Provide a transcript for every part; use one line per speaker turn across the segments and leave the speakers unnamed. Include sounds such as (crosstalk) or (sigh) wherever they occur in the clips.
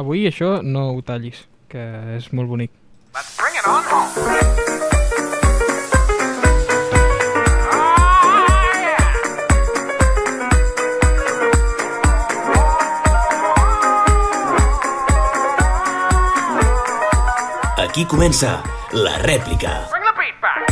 Avui això no ho tallis, que és molt bonic.
Let's bring it on home.
Aquí comença la rèplica.
Bring the beat back.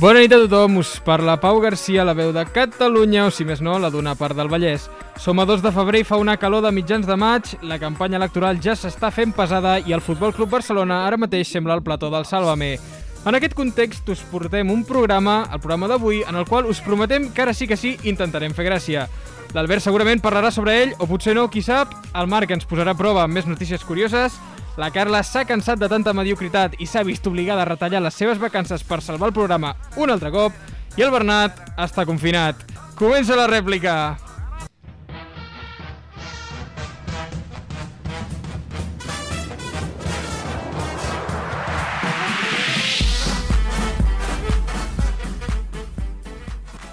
Bona nit a tothom, us parla Pau Garcia, la veu de Catalunya, o si més no, la d'una part del Vallès. Som a 2 de febrer i fa una calor de mitjans de maig, la campanya electoral ja s'està fent pesada i el Futbol Club Barcelona ara mateix sembla el plató del Sálvame. En aquest context us portem un programa, el programa d'avui, en el qual us prometem que ara sí que sí intentarem fer gràcia. L'Albert segurament parlarà sobre ell, o potser no, qui sap, el Marc ens posarà a prova amb més notícies curioses, la Carla s'ha cansat de tanta mediocritat i s'ha vist obligada a retallar les seves vacances per salvar el programa un altre cop i el Bernat està confinat. Comença la rèplica!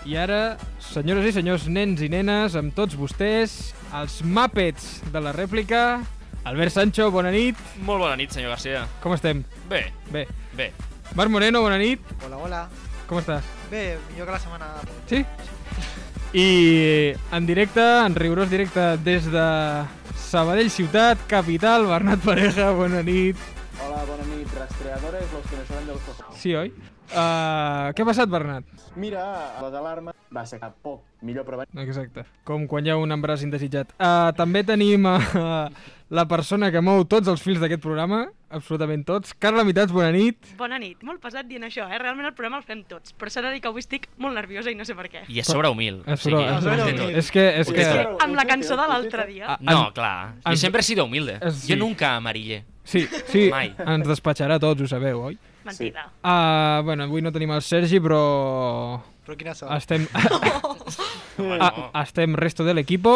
I ara, senyores i senyors, nens i nenes, amb tots vostès, els Muppets de la rèplica. Albert Sancho, bona nit.
Molt bona nit, senyor Garcia.
Com estem?
Bé,
Bé.
bé.
Marc Moreno, bona nit.
Hola, hola.
Com estàs?
Bé, millor que la setmana...
Sí? I en directe, en rigorós directe, des de Sabadell Ciutat, capital, Bernat Pareja, bona nit.
Hola, bona nit, rastreadores, los que me salen de los ojos.
Sí, oi? Uh, què ha passat, Bernat?
Mira, les alarmes va ser cap poc, millor prevenir.
Exacte, com quan hi ha un embaràs indesitjat. Uh, també tenim uh, la persona que mou tots els fils d'aquest programa, absolutament tots. Carla Mitats, bona nit.
Bona nit. Molt pesat dient això, eh? Realment el programa el fem tots, però s'ha de dir que avui estic molt nerviosa i no sé per què.
I és sobre humil.
És, però,
o
és,
sigui, ho
sobre
té tot.
humil.
és que... És que
Ho té
Amb la cançó de l'altre dia.
Ah.
No, clar.
en-
Jo sempre he sido humilde.
Eh, sí.
Jo nunca amarillé.
sí, sí,
Mai.
ens despatxarà a tots, ho sabeu, oi?
Mentida.
Uh, bueno, avui no tenim el Sergi, però...
Però quina sort.
Estem, Ah,
Home, no.
(laughs) a, estem resto de l'equipo,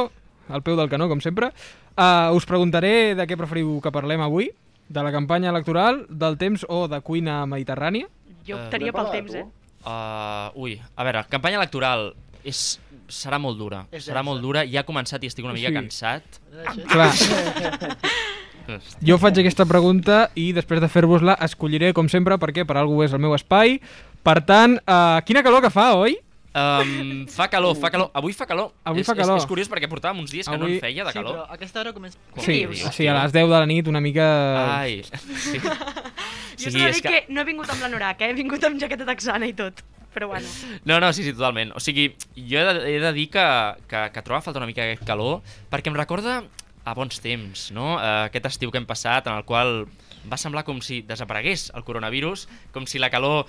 al peu del canó, com sempre. Uh, us preguntaré de què preferiu que parlem avui, de la campanya electoral, del temps o de cuina mediterrània.
Jo
Eh,
optaria pel
Parla
temps,
tu.
eh?
ah.
Uh, ui, a veure, campanya electoral és, serà molt dura.
És
serà
densa.
molt dura. Ja ha començat i estic una mica
Sí.
cansat.
Clar, jo faig aquesta pregunta i després de fer-vos-la escolliré, com sempre, perquè per alguna és el meu espai. Per tant, uh, quina calor que fa, oi?
Um, fa calor, fa calor. Avui fa calor.
Avui
és,
fa calor.
És, és curiós perquè portàvem uns dies que no
Avui-
en feia de
Sí, però
calor.
a aquesta hora comença...
Com
Sí,
dius,
o sigui, a
tio?
les 10 de la nit una mica...
Ai,
(laughs)
sí.
Jo
Sí,
s'ha de
és
dir que... no he vingut amb l'anorac, eh? He vingut amb jaqueta texana i tot. Però bueno,
No, no, sí, sí, totalment. O sigui, jo he de, he de dir que, que, que troba falta una mica aquest calor perquè em recorda a bons temps, no? Eh, aquest estiu que hem passat en el qual va semblar com si desaparegués el coronavirus, com si la calor...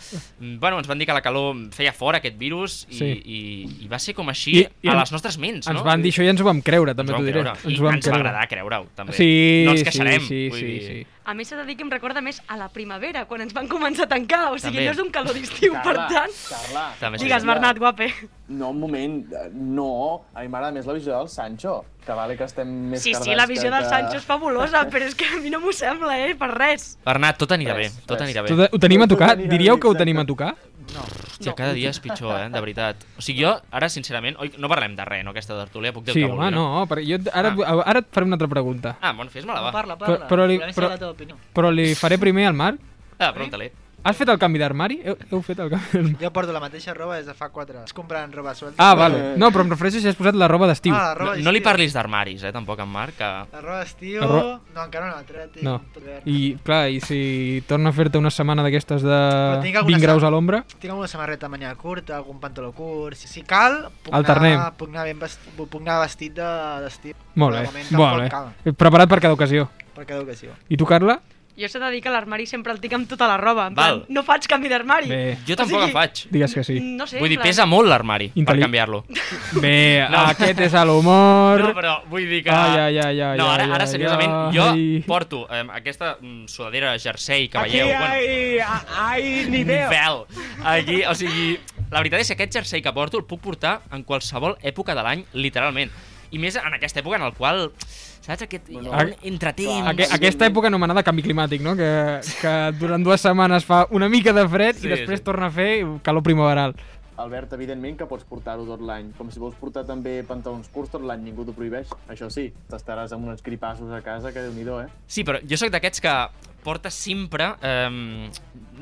mm, Bueno, ens van dir que la calor feia fora aquest virus i,
Sí.
sí. i, i va ser com així I,
I- i
i a
en-
les nostres ments,
Ens
no?
van dir això i ens ho vam creure,
Ens
també
ho
t'ho
vam
diré.
creure. I ens va agradar creure-ho, també.
Sí,
no ens
sí,
queixarem.
sí,
vull
sí,
dir.
sí.
a mi s'ha de dir que em recorda més a la primavera, quan ens van començar a tancar. O sigui,
També.
no és un calor d'estiu, per tant...
Carla,
També és
Digues, Bernat, guape.
No, un moment, eh, no. A mi m'agrada més la visió del Sancho, que vale que estem més
Sí, sí,
cardats
la visió
que-
del
que-
Sancho és fabulosa, però és que a mi no m'ho sembla, eh? Per res.
Bernat, tot anirà
Res,
bé, tot
res.
anirà bé.
Tot, ho tenim a tocar?
Tot anirà
Diríeu que ho
bé,
tenim a
exacte.
tocar?
Hòstia, cada dia és pitjor, eh? De veritat. O sigui, jo, ara, sincerament... Oi, no parlem de res, no, aquesta tertúlia? Puc dir el
Sí,
que
home,
vulgui,
no, perquè jo et- ara, ah. ara et faré una altra pregunta.
Ah, bueno, fes-me-la, va.
Parla,
Però-
parla.
però li-
La mesa
però-
de la teva opinió.
Però li faré primer al Marc.
Ah, pregunta-li.
Has fet el canvi d'armari? Heu, heu fet el canvi d'armari?
Jo porto la mateixa roba des de fa 4 hores. Comprant roba suelta.
Ah, vale. No, però em refereixo si has posat la roba d'estiu.
No,
Ah, la roba
no li
d'estiu.
parlis d'armaris, eh, tampoc, en Marc, que...
La roba d'estiu...
La ro-
No, encara no l'ha tret. i
No.
tot verd.
I, clar, i si torna a fer-te una setmana d'aquestes de
tinc alguna
20 graus a
setmana.
l'ombra?
Tinc alguna samarreta de manyà curta, algun pantaló curt... Si, si cal, puc
Alternem.
anar, puc anar, ben vestit, puc anar vestit de- d'estiu.
Molt
Però de
bé,
moment
molt
tampoc
bé. Preparat per cada ocasió.
Cal, perquè deu que sí.
I tu, Carla?
Jo s'ha de dir que l'armari sempre el tinc amb tota la roba. En
Val.
plan, no faig canvi d'armari.
Bé,
Jo
O
tampoc
sigui-
en faig.
digues que sí.
No sé,
Vull dir,
en plan-
pesa molt l'armari per
Intel·li-
canviar-lo.
Bé,
(laughs) No.
aquest és a l'humor.
No, però vull dir que...
Ai, ai, ai, ai,
no, ara,
ai,
ara
ai,
seriosament,
ai.
jo porto eh, aquesta mm, sudadera jersei que veieu... Aquí ai, ni veo. Vel, aquí, o sigui... La veritat és que aquest jersei que porto el puc portar en qualsevol època de l'any, literalment. I més en aquesta època en el qual... Saps aquest... hi ha un
Aqu-
Entretemps...
Aque- aquesta època anomenada canvi climàtic, no? Que, que durant dues setmanes fa una mica de fred
Sí,
i després
sí.
torna a fer calor primaveral.
El verd, evidentment, que pots portar-ho tot l'any. Com si vols portar també pantalons curts tot l'any, ningú t'ho prohibeix. Això sí, t'estaràs amb uns gripassos a casa, que déu-n'hi-do, eh?
Sí, però jo sóc d'aquests que porta sempre eh,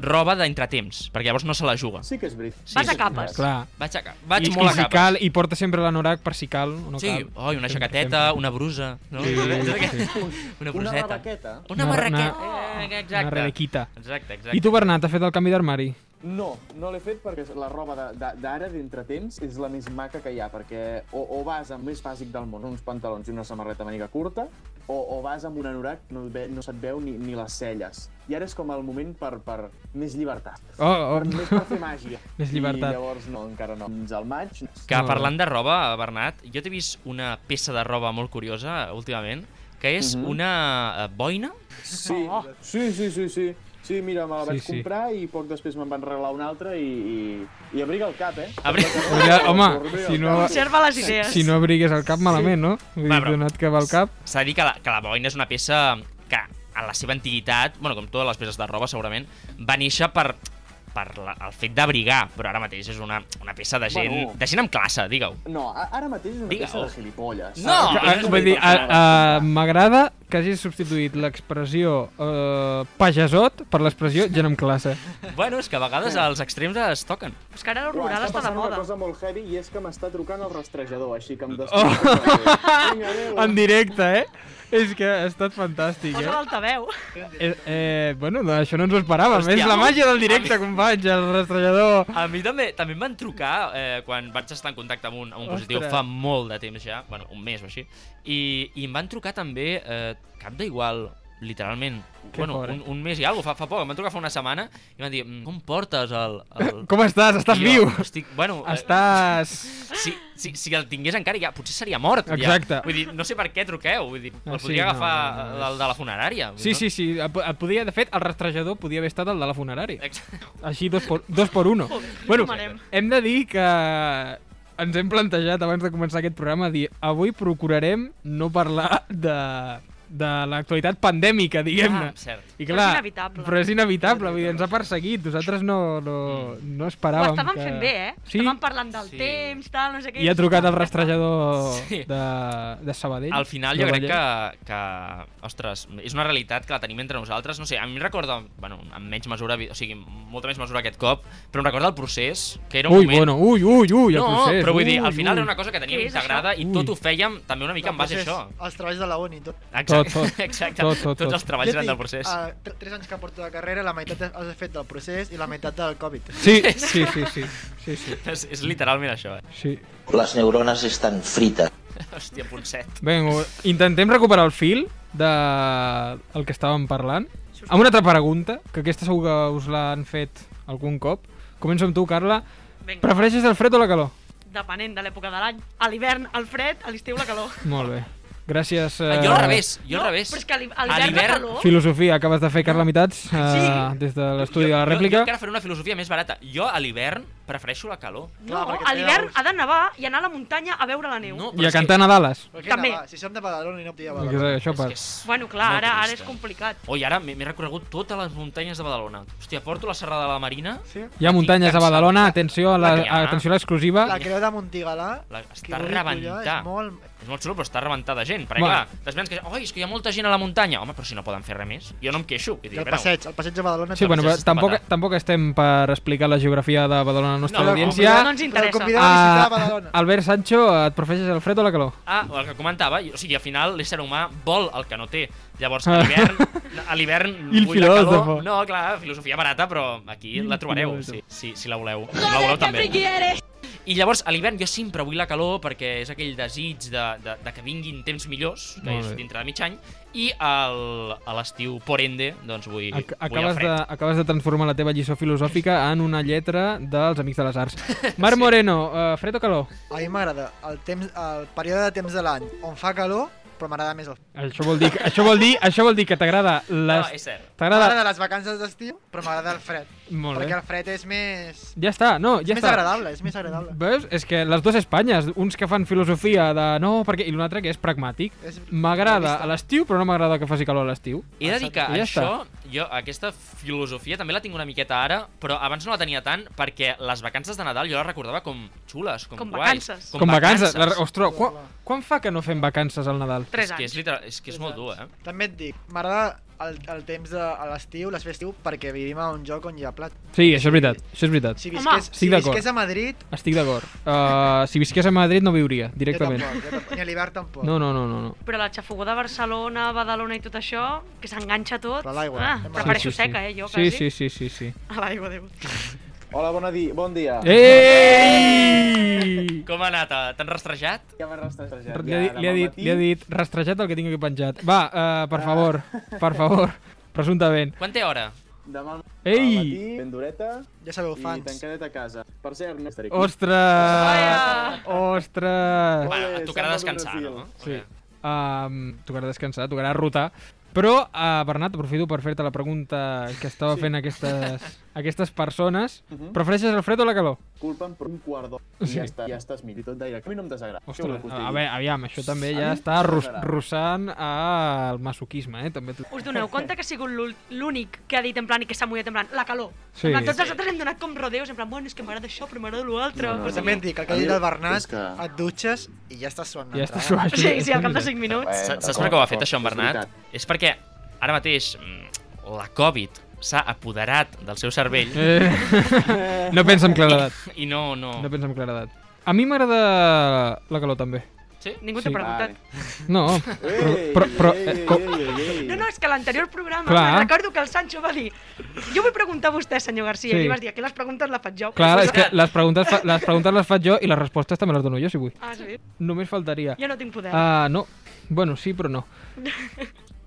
roba d'entretemps, perquè llavors no se la juga.
Sí que és veritat.
Sí,
Vas a
sí.
capes.
Clar.
Vaig, a, ca- vaig
I,
molt
i
a
si
capes.
cal, i porta sempre l'anorac per si cal o no
sí, Oh,
cal.
oi, una
Sempre,
jaqueteta,
sempre.
una brusa, no?
Sí,
Una
Una
bruseta.
rebaqueta?
Una-
Una barraqueta.
una-
Eh,
Una reliquita.
Exacte, exacte.
I tu, Bernat, has fet el canvi d'armari?
No, no l'he fet perquè la roba de- de- d'ara, d'entretemps, és la més maca que hi ha, perquè o, o vas amb més bàsic del món, uns pantalons i una samarreta màniga curta, o, o vas amb un anorac, no, et ve, no se't veu ni, ni les celles. I ara és com el moment per, per més llibertat.
Oh,
Per,
oh.
més per fer màgia.
(laughs) Més llibertat.
I llavors no, encara no. Fins al maig.
Que
Molt bé.
parlant de roba, Bernat, jo t'he vist una peça de roba molt curiosa últimament, que és
Mhm.
una eh, boina.
Sí, sí, sí, sí, sí. Sí, mira, me la
Oh! Sí,
vaig
sí.
comprar i poc després me'n van regalar una altra i, i, i abriga el cap, eh?
Abre...
Podria, home,
Horrible,
si no,
Conserva les idees.
si no abrigues el cap malament, no? Vull
Va,
dir,
però-
donat que va al cap.
S'ha de dir que la, que la boina és una peça que a la seva antiguitat, bueno, com totes les peces de roba segurament, va néixer per, per la, el fet d'abrigar, però ara mateix és una, una peça de gent,
Bueno.
de gent amb classe, digue-ho.
No, a- ara mateix és una
Digue-ho.
peça de gilipolles.
No!
Ara
Ah,
mateix és una
Vull dir,
peça de
a- a-
gilipolles.
m'agrada que hagis substituït l'expressió eh, pagesot per l'expressió gent amb classe.
Bueno, és que a vegades els extrems es toquen.
És que ara el
Però
rural
està
està de
passant una
moda.
cosa molt heavy i és que m'està trucant el rastrejador, així que em desconfio. Vinga, adéu.
En directe, eh? És que ha estat fantàstic,
Posa
eh?
l'altaveu.
eh, eh bueno, no, això no ens ho esperàvem.
Hòstia.
és la màgia del directe, companys, el rastrellador.
A mi també també em van trucar eh, quan vaig estar en contacte amb un, amb un positiu
Ostres.
fa molt de temps ja, bueno, un mes o així, i, i em van trucar també, eh, cap d'igual, literalment,
Que
bueno,
fort, eh?
un, un mes i alguna fa, fa poc, em van trucar fa una setmana i em van dir, "Mm, com portes el... el...
Com estàs? Estàs
I
viu?
Estic, bueno, eh,
Estàs...
si, si, si el tingués encara ja, potser seria mort.
Exacte.
Ja. Vull dir, no sé per què truqueu, vull dir,
Ah,
el
sí,
podria
no,
agafar
no, no,
eh, el de la funerària. vull
Sí,
dir,
sí, sí. Et po- et podia, de fet, el rastrejador podia haver estat el de la funerària.
Exacte.
Així, dos por, dos por uno. Bueno,
fumarem.
hem de dir que ens hem plantejat abans de començar aquest programa dir avui procurarem no parlar de, de l'actualitat pandèmica, diguem-ne.
Ah, cert.
I
Però és inevitable.
Però és inevitable, vull dir, ens ha perseguit. Nosaltres no, no, no
Ho
esperàvem
estaven
que...
fent bé, eh?
Sí,
Estaven parlant del
Sí.
temps, tal, no sé què.
i ha trucat el rastrejador
Sí.
de, de Sabadell.
Al final jo
de
crec que,
Vallès.
que, ostres, és una realitat que la tenim entre nosaltres. No sé, a mi em recorda, bueno, amb menys mesura, o sigui, molta més mesura aquest cop, però em recorda el procés, que era un
Ui,
moment...
bueno, ui, ui, ui, el
no,
procés.
però vull dir,
ui,
al final
ui.
era una cosa que teníem
Què és
integrada i
Ui.
tot ho fèiem també una mica en base a
Procés,
això.
Els treballs de la uni i tot.
Exacte,
Tot, tot.
(laughs) exacte.
Tot, tot, tot.
Tots els treballs eren del procés.
Uh, tres anys que porto de carrera, la meitat has fet del procés i la meitat del Covid.
Sí, sí, sí, sí. sí, sí,
(laughs) És, és literalment això, eh?
sí.
Las neuronas están fritas.
Hòstia, punt set.
Vinga, intentem recuperar el fil de el que estàvem parlant. Amb una altra pregunta, que aquesta segur que us l'han fet algun cop. Començo amb tu, Carla.
Vinga,
Prefereixes el fred o la calor?
depenent de l'època de l'any. A l'hivern el fred, a l'estiu la calor.
Molt bé. Gràcies. Eh,
Jo al revés, jo al
No,
revés.
Però és que a l'hi- a
A
l'hivern la
l'hivern-
calor...
Filosofia, acabes de fer, Carla Mitats, eh,
Sí.
des de l'estudi de la
Ah. Jo,
rèplica.
jo encara faré una filosofia més barata. Jo a l'hivern prefereixo la calor.
No,
Clar, perquè
a
té
l'hivern
daus.
ha de nevar i anar a la muntanya a veure la neu.
No,
I
però
a
és que-
cantar Nadales.
Però què
També.
anava? Si som de Badalona i no podia
Que
Badalona.
Això
és
per...
que és
Bueno, clar,
molt
ara, ara és
trist, eh?
complicat.
Oi, ara m'he m'he recorregut totes les muntanyes de Badalona. Hòstia, porto la serrada de la Marina.
Sí?
Hi ha muntanyes a Badalona, atenció a la,
La que hi ha.
atenció a l'exclusiva.
La creu de Montigalà...
La,
qui
està
vulgui pujar,
rebentar.
És molt...
És molt xulo, però està rebentar de gent. Perquè,
Bueno.
clar, després que... Oi, és que hi ha molta gent a la muntanya. Home, però si no poden fer res més. Jo no em queixo. Vull
I
dir,
el
a veure,
passeig, el passeig de Badalona...
Sí, bueno, però
Francesc
tampoc,
Zapata.
tampoc estem per explicar la geografia de Badalona a la nostra
No, no,
audiència.
no ens interessa.
Però convidem a visitar
Ah,
Badalona.
Albert Sancho, et prefereixes el fred o la calor?
Ah, o el que comentava, o sigui, al final l'ésser humà vol el que no té. Llavors, a
(laughs)
l'hivern, a l'hivern
I el
vull la calor.
filòsofo.
No, clar, filosofia barata, però aquí
I el
la trobareu, si,
filòsof.
si, si la voleu. Si la voleu també. I llavors, a l'hivern jo sempre vull la calor perquè és aquell desig de, de, de que vinguin temps millors, que
Molt
és
bé.
dintre de mig any, i al, a l'estiu, por ende, doncs vull,
Ac
vull el
acabes, de,
fred.
acabes de transformar la teva lliçó filosòfica en una lletra dels Amics de les
(laughs)
Arts. Marc Moreno, uh, fred o calor?
A mi m'agrada el, temps, el període de temps de l'any on fa calor, però m'agrada més el...
Això vol dir, que- això vol dir, això vol dir que t'agrada
No,
les...
és cert.
T'agrada...
M'agrada les vacances d'estiu, però m'agrada el fred.
Molt eh?
perquè
bé.
el fred és més...
Ja està, no, ja
és més
està.
agradable, és més agradable.
Veus? És que les dues Espanyes, uns que fan filosofia de no, perquè... i l'altre que és pragmàtic.
És
M'agrada
realista.
a l'estiu, però no m'agrada que faci calor a l'estiu.
He de dir que
I ja
això, jo aquesta filosofia també la tinc una miqueta ara, però abans no la tenia tant perquè les vacances de Nadal jo les recordava com xules, com,
Com
guais.
vacances.
Com, vacances. La... Ostres, quan, quan fa que no fem vacances al Nadal?
Tres
És que és,
anys.
literal, és, que és molt dur, eh?
També et dic, m'agrada el, el temps de a l'estiu, les festiu, perquè vivim a un joc on hi ha plat.
Sí, això és veritat, això és veritat.
Si
Home.
visqués,
Estic
si
d'acord.
visqués a Madrid,
Estic d'acord. Uh, si visqués a Madrid no viuria,
jo
directament.
tampoc, jo tampoc, ni a l'hivern tampoc.
No, no, no, no. no.
Però la xafogó de Barcelona, Badalona i tot això, que s'enganxa tot...
Però a l'aigua,
Ah,
hem
sí,
anat.
prefereixo sí, sí, seca, eh, jo,
sí,
quasi.
Sí, sí, sí, sí.
A l'aigua, Déu.
(laughs) Hola, bona di bon dia.
Ei!
Com ha anat? eh? T'han rastrejat?
Ja m'ha rastrejat.
Li ha, dit- li ha dit, li ha dit, rastrejat el que tinc aquí penjat. Va, uh, per favor, per favor, presumptament.
Quan té hora?
Demà al
Ei!
matí, ben dureta
Ja sabeu,
i
fans.
tancadet a casa. Per cert, no estaré aquí.
Ostres! Ostres!
Ole,
Bueno, tocarà
Samba
descansar,
Brasil.
no?
Sí. Um, tocarà descansar, tocarà rotar. Però, uh, Bernat, aprofito per fer-te la pregunta que estava sí. fent aquestes,
(laughs)
aquestes persones. Uh -huh.
Mhm.
Prefereixes el fred o la calor?
Culpa'm per un quart d'hora.
Sí.
Sí. Ja, està, ja estàs mil i tot d'aire. A mi no em desagrada. Què voleu
Ostres,
que us
a
digui?
veure, aviam, això també
A
ja
mi
està ru-
m'agrada.
russant al masoquisme, eh? També t'ho-
Us doneu compte que ha sigut l'ul- l'únic que ha dit en plan i que s'ha mullat en plan la calor.
Sí.
En plan, tots els altres hem donat com rodeos, en plan, bueno, és que m'agrada això, però m'agrada l'altre.
No, no,
Però
no.
també et dic, el que
A
ha
mi
dit el
és
Bernat,
que-
et dutxes i ja estàs suant.
Ja està
entrada.
suat.
Sí, sí, al cap de 5 minuts.
Saps
Bueno,
saps per què ho ha fet
d'acord,
això en
és
Bernat?
veritat.
És perquè ara mateix mm, la Covid s'ha apoderat del seu cervell
Eh, (laughs) no pensa amb claredat.
i no... no.
No pensa amb claredat. A mi m'agrada la calor també.
Sí?
Ningú
Sí.
t'ha preguntat.
Vale.
No, però, però, però
Ei,
eh,
ei,
com,
ei, ei, ei.
No, no, és que a l'anterior programa
Clar.
me'n recordo que el Sancho va dir jo vull preguntar a vostè, senyor Garcia,
Sí.
i li vas dir que les preguntes les faig jo.
clar,
Pues,
és que les preguntes, fa, les preguntes les faig jo i les respostes també les dono jo, si vull.
Ah, sí?
Només faltaria.
Jo no tinc poder.
Ah, no. Bueno, sí, però no.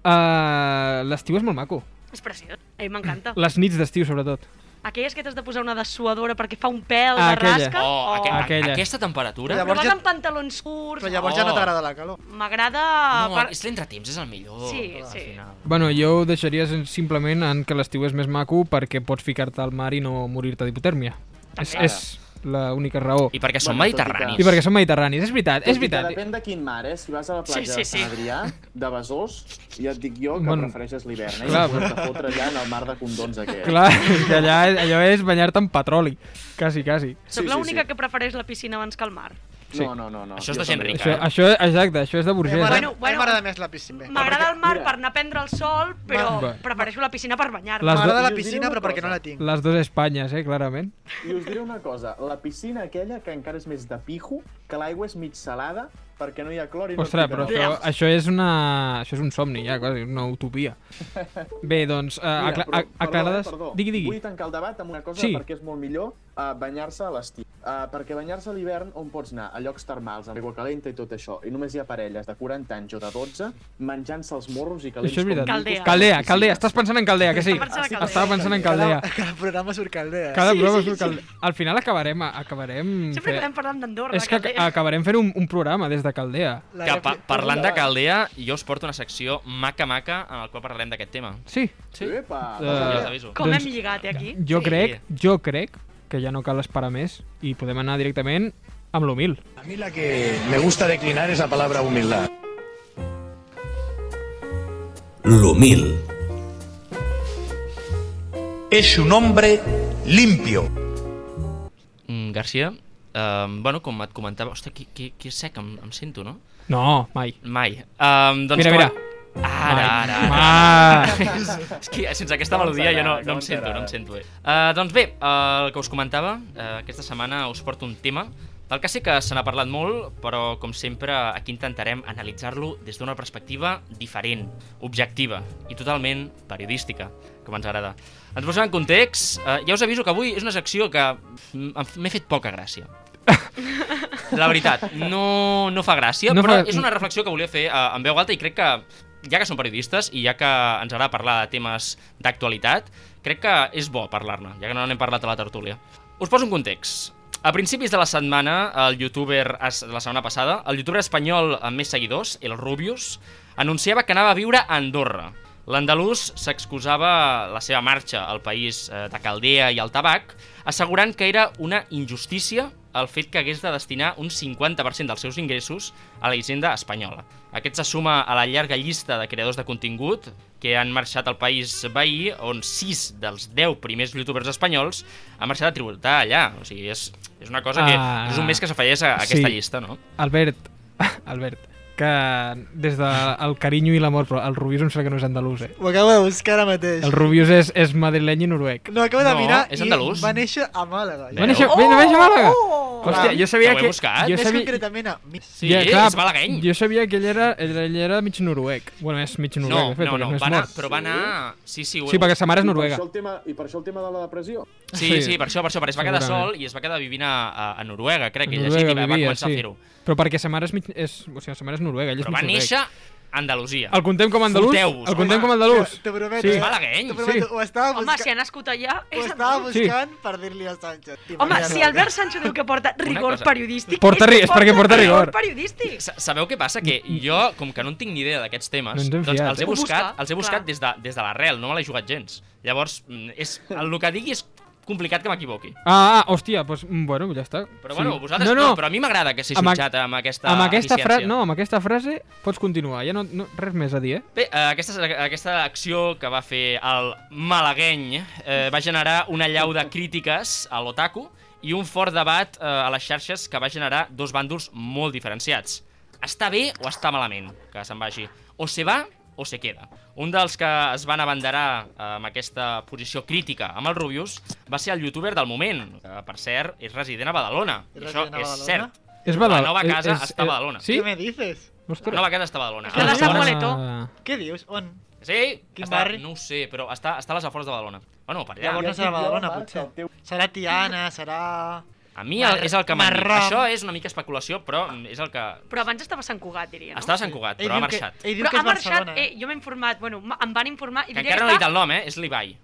Ah, L'estiu és molt maco.
És preciós. A mi m'encanta.
Les nits d'estiu, sobretot.
Aquelles que t'has de posar una dessuadora perquè fa un pèl de
Aquella.
rasca.
Oh, aqu
aquella.
aquella. aquesta temperatura?
Però
Llavors
vas
ja-
amb pantalons curts.
Però llavors ja no
Oh.
t'agrada la calor.
M'agrada...
No,
Ah, per-
és l'entretemps, és el millor.
Sí,
al
sí.
final.
Bueno, jo ho deixaria sen- simplement en que l'estiu és més maco perquè pots ficar-te al mar i no morir-te d'hipotèrmia. És,
També.
és l'única raó.
I perquè som
Bueno, tot i que-
mediterranis.
I perquè són mediterranis, és veritat,
Tot i
és
que
veritat.
Depèn de quin mar, eh? Si vas a la platja
Sí, sí,
sí, sí, sí.
sí.
de Sant Adrià, de Besòs, ja et dic jo que
Bueno,
bueno, prefereixes l'hivern, eh?
clar,
Clar, però... Te fotre allà en el mar de condons aquest.
Clar, (laughs) és que allà, allò és banyar-te en petroli. Quasi, quasi.
Sóc
sí, sí,
l'única
sí.
que prefereix la piscina abans que el mar.
Sí.
No, no, no, no.
Això és
Jo
de gent
també.
rica.
Això, això, exacte, això és de
A
burgès.
mi Eh, m'agrada-
Bueno,
a
Bueno,
mi
bueno.
m'agrada més la piscina.
M'agrada el mar
mira.
per anar a prendre el sol, però
Va.
prefereixo la piscina per banyar-me.
Les
M'agrada
do-
la
Jo us diré
piscina,
una
però perquè no
cosa.
la tinc.
Les dues Espanyes, eh, clarament.
I us diré una cosa, la piscina aquella que encara és més de pijo, que l'aigua és mig salada, perquè no hi ha clor i
Ostres,
no
però
et pica
això,
res.
això és una... Això és un somni, ja, quasi, una
(laughs)
utopia. Bé, doncs, uh,
Mira,
acla
però,
a- aclarades...
Perdó, eh, perdó.
Digui, digui.
Vull tancar el debat amb una cosa
Sí.
sí. perquè és molt millor uh, banyar-se a l'estiu. Uh, perquè banyar-se a l'hivern, on pots anar? A llocs termals, amb aigua calenta i tot això. I només hi ha parelles de 40 anys o de 12 menjant-se els morros i calents.
Això és veritat.
com
Caldea.
Caldea, Caldea. Estàs pensant en Caldea, que sí?
Estava pensant en
Estava
Caldea.
pensant en Caldea.
Cada, cada programa surt caldea.
Cada programa surt Caldea. Al final acabarem... acabarem
Sempre
fe-
acabem parlant d'Andorra.
És que ac-
Caldea.
acabarem fent un, un programa des de Caldea.
La
Que, pa
rèplica-
parlant de Caldea, jo us porto una secció maca-maca en la qual parlarem d'aquest tema.
Sí.
Sí. Epa,
Eh,
Ja us
uh,
aviso.
Com
Doncs-
hem lligat, eh, aquí?
Jo
Sí.
crec, jo crec que ja no cal esperar més i podem anar directament amb l'humil.
A mí la que me gusta declinar es la palabra humildad.
L'humil.
Es un hombre limpio.
Mm, Garcia, um, bueno, com et comentava... Hòstia, que, que, que sec em, em sento, no?
No, mai.
Mai. Um, doncs
Mira,
com
mira.
a- Ara, ara, ara.
Ah,
(laughs) És que sense aquesta
Com
melodia jo no,
t'agrada,
no em
com
sento, no em
t'agrada.
sento bé. Uh, doncs bé, uh, el que us comentava, uh, aquesta setmana us porto un tema del que sé que se n'ha parlat molt, però com sempre aquí intentarem analitzar-lo des d'una perspectiva diferent, objectiva i totalment periodística, com ens agrada. Ens posem en context, uh, ja us aviso que avui és una secció que mm, em f- m'he fet poca gràcia. La veritat, no, no fa gràcia,
No
no però
fa-
fa... és una reflexió que volia fer uh, en veu alta i crec que, ja que som periodistes i ja que ens agrada parlar de temes d'actualitat, crec que és bo parlar-ne, ja que no n'hem parlat a la tertúlia. Us poso un context. A principis de la setmana, el youtuber, es- la setmana passada, el youtuber espanyol amb més seguidors, el Rubius, anunciava que anava a viure a Andorra. L'andalús s'excusava la seva marxa al país eh, de Caldea i al tabac, assegurant que era una injustícia el fet que hagués de destinar un 50% dels seus ingressos a la hisenda espanyola. Aquest se suma a la llarga llista de creadors de contingut que han marxat al país veí, on 6 dels 10 primers youtubers espanyols han marxat a tributar allà. O sigui, és, és una cosa que...
Ah.
és un més que s'afegeix a, a aquesta
Sí.
llista, no?
Albert, (laughs) Albert, que des del carinyo i l'amor, però el Rubius em sembla que no és andalús, eh?
Ho acabo de buscar ara mateix.
El Rubius és, és madrileny i noruec.
No, acabo de
No,
mirar
és
i
andalús.
va néixer a Màlaga.
Va néixer, oh! va néixer a Màlaga! Oh! Hòstia, jo sabia
Ho he
que...
buscat?
Jo
Més
sabia,
concretament a mi.
Sí, és malagueny.
Jo sabia que ell era, ell, ell era mig noruec. Bueno, és mig noruec,
No,
de fet,
no, no,
perquè no és
va anar,
mort.
però va anar... Sí, sí, ho he
Sí, perquè sa mare és
I per
noruega.
això el tema- I per això el tema de la depressió.
Sí,
Sí.
sí, per això, per això, perquè es va quedar
Segurament.
sol i es va quedar vivint a, a, a Noruega, crec que he
Noruega
llegit, i va, va
vivia, sí.
començar a fer-ho.
Però perquè sa mare és, mig, és, o sigui, sa mare és noruega, ell és
Però
mig
va
noruec.
néixer a Andalusia.
El contem com a andalús?
Foteu-vos,
El contem
home.
com a andalús?
T'ho prometo.
Sí.
eh?
És malagueny.
T'ho prometo.
Sí.
Ho estava
Home, si ha
buscant,
nascut allà,
ho
és
estava
andalús.
Sí.
buscant per dir-li a Sánchez. I
Home,
per
si
dir-li a
Albert Sánchez diu que porta rigor
cosa.
periodístic...
Porta
és que
ri- és perquè porta rigor.
periodístic.
Sa- Sabeu què passa? Que jo, com que no en tinc ni idea d'aquests temes,
Mm, No ens hem
doncs
fiat,
els he
eh?
Ho
buscat,
busca,
els he buscat
clar.
des de, des de l'arrel, no me l'he jugat gens. Llavors, mm, és, el que digui és complicat que m'equivoqui.
Ah, ah, hòstia, doncs, mm, bueno, ja està. Sí.
Però bueno, vosaltres
no,
no,
no,
però a mi m'agrada que s'hi
Amb ac-
jutjat amb aquesta
amb aquesta, fra...
eficiència.
no, amb aquesta frase pots continuar, ja no, no res més a dir, eh?
Bé, eh, aquesta, aquesta acció que va fer el malagueny eh, va generar una llau de crítiques a l'otaku i un fort debat eh, a les xarxes que va generar dos bàndols molt diferenciats. Està bé o està malament que se'n vagi? O se va o se queda. Un dels que es van abanderar eh, amb aquesta posició crítica amb el Rubius va ser el youtuber del moment, que per cert és resident a Badalona.
És
I això
resident a
és
Badalona?
cert.
És Badal-
La nova
és-
casa
és-
està a Badalona. Ah,
Sí?
Què me dices?
Ostres. Ah,
La nova casa està a Badalona.
És la de
Aleshores-
Samuel Samueletó.
Què dius? On?
Sí,
Quin
està,
barri?
no ho sé, però està, està a les afores de Badalona. Bueno, per allà. eh?
Llavors no serà
Jo,
Badalona,
Marc,
potser.
el teu-
Serà Tiana, serà...
A mi el,
Mar-
és el que m'han dit.
Marram.
Això és una mica especulació, però és el que...
Però abans estava a Sant Cugat, diria, no?
Estava a Sant Cugat, però ha
diu
marxat.
Que, ell diu
Però
que
ha
és
marxat,
Barcelona.
eh, jo m'he informat, bueno, m- em van informar i
Que
diria
encara no he dit
està,
el nom, eh? És l'Ibai.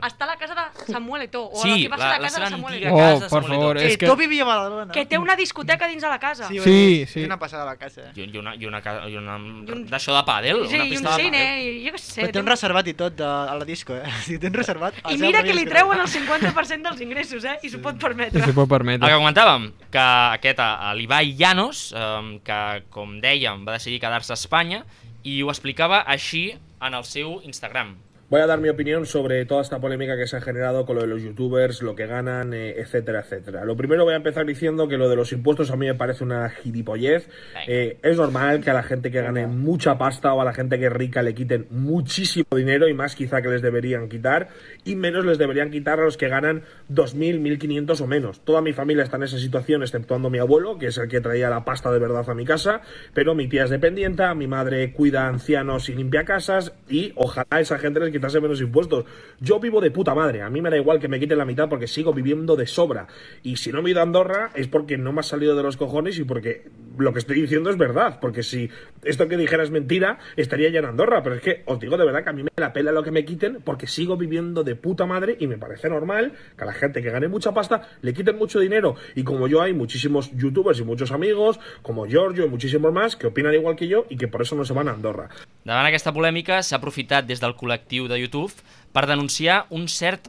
està a la casa de Samuel Eto'o, o
Sí,
el que va ser
la-
la,
la
casa
seva
de Samuel
antiga
Eto'o,
Oh,
casa,
per
Samuel
favor,
Eto'o.
Que
és que...
tu vivia a Badalona.
que té una discoteca dins de la casa.
Sí,
Sí,
sí,
sí.
sí. Una passada a la casa. eh?
I, un- i una, i una, ca- i una,
I un-
d'això de pàdel,
Sí,
una eh.
i un
pista de
cine,
pàdel.
i jo què sé.
Però té un reservat i tot de, a la disco, eh? (laughs) Si té un reservat...
I mira que li treuen el 50% dels ingressos, eh? I s'ho pot
Si
permetre.
s'ho pot
El que
permetre.
comentàvem, que aquest, eh, l'Ibai Llanos, eh, que com dèiem va decidir quedar-se a Espanya, i ho explicava així en el seu Instagram.
Voy a dar mi opinión sobre toda esta polémica que se ha generado con lo de los youtubers, lo que ganan, eh, etcétera, etcétera. Lo primero voy a empezar diciendo que lo de los impuestos a mí me parece una gilipollez. Eh, es normal que a la gente que gane mucha pasta o a la gente que es rica le quiten muchísimo dinero y más quizá que les deberían quitar y menos les deberían quitar a los que ganan 2.000, 1.500 o menos. Toda mi familia está en esa situación, exceptuando mi abuelo, que es el que traía la pasta de verdad a mi casa, pero mi tía es dependienta, mi madre cuida ancianos y limpia casas y ojalá a esa gente les quitase menos impuestos. Yo vivo de puta madre, a mí me da igual que me quiten la mitad porque sigo viviendo de sobra. Y si no me he ido a Andorra es porque no me ha salido de los cojones y porque lo que estoy diciendo es verdad, porque si esto que dijera es mentira, estaría ya en Andorra, pero es que os digo de verdad que a mí me la pela lo que me quiten porque sigo viviendo de puta madre y me parece normal que a la gente que gane mucha pasta le quiten mucho dinero. Y como yo hay muchísimos youtubers y muchos amigos, como Giorgio y muchísimos más, que opinan igual que yo y que por eso no se van a Andorra.
Davant aquesta polèmica s'ha aprofitat des del col·lectiu de YouTube per denunciar un cert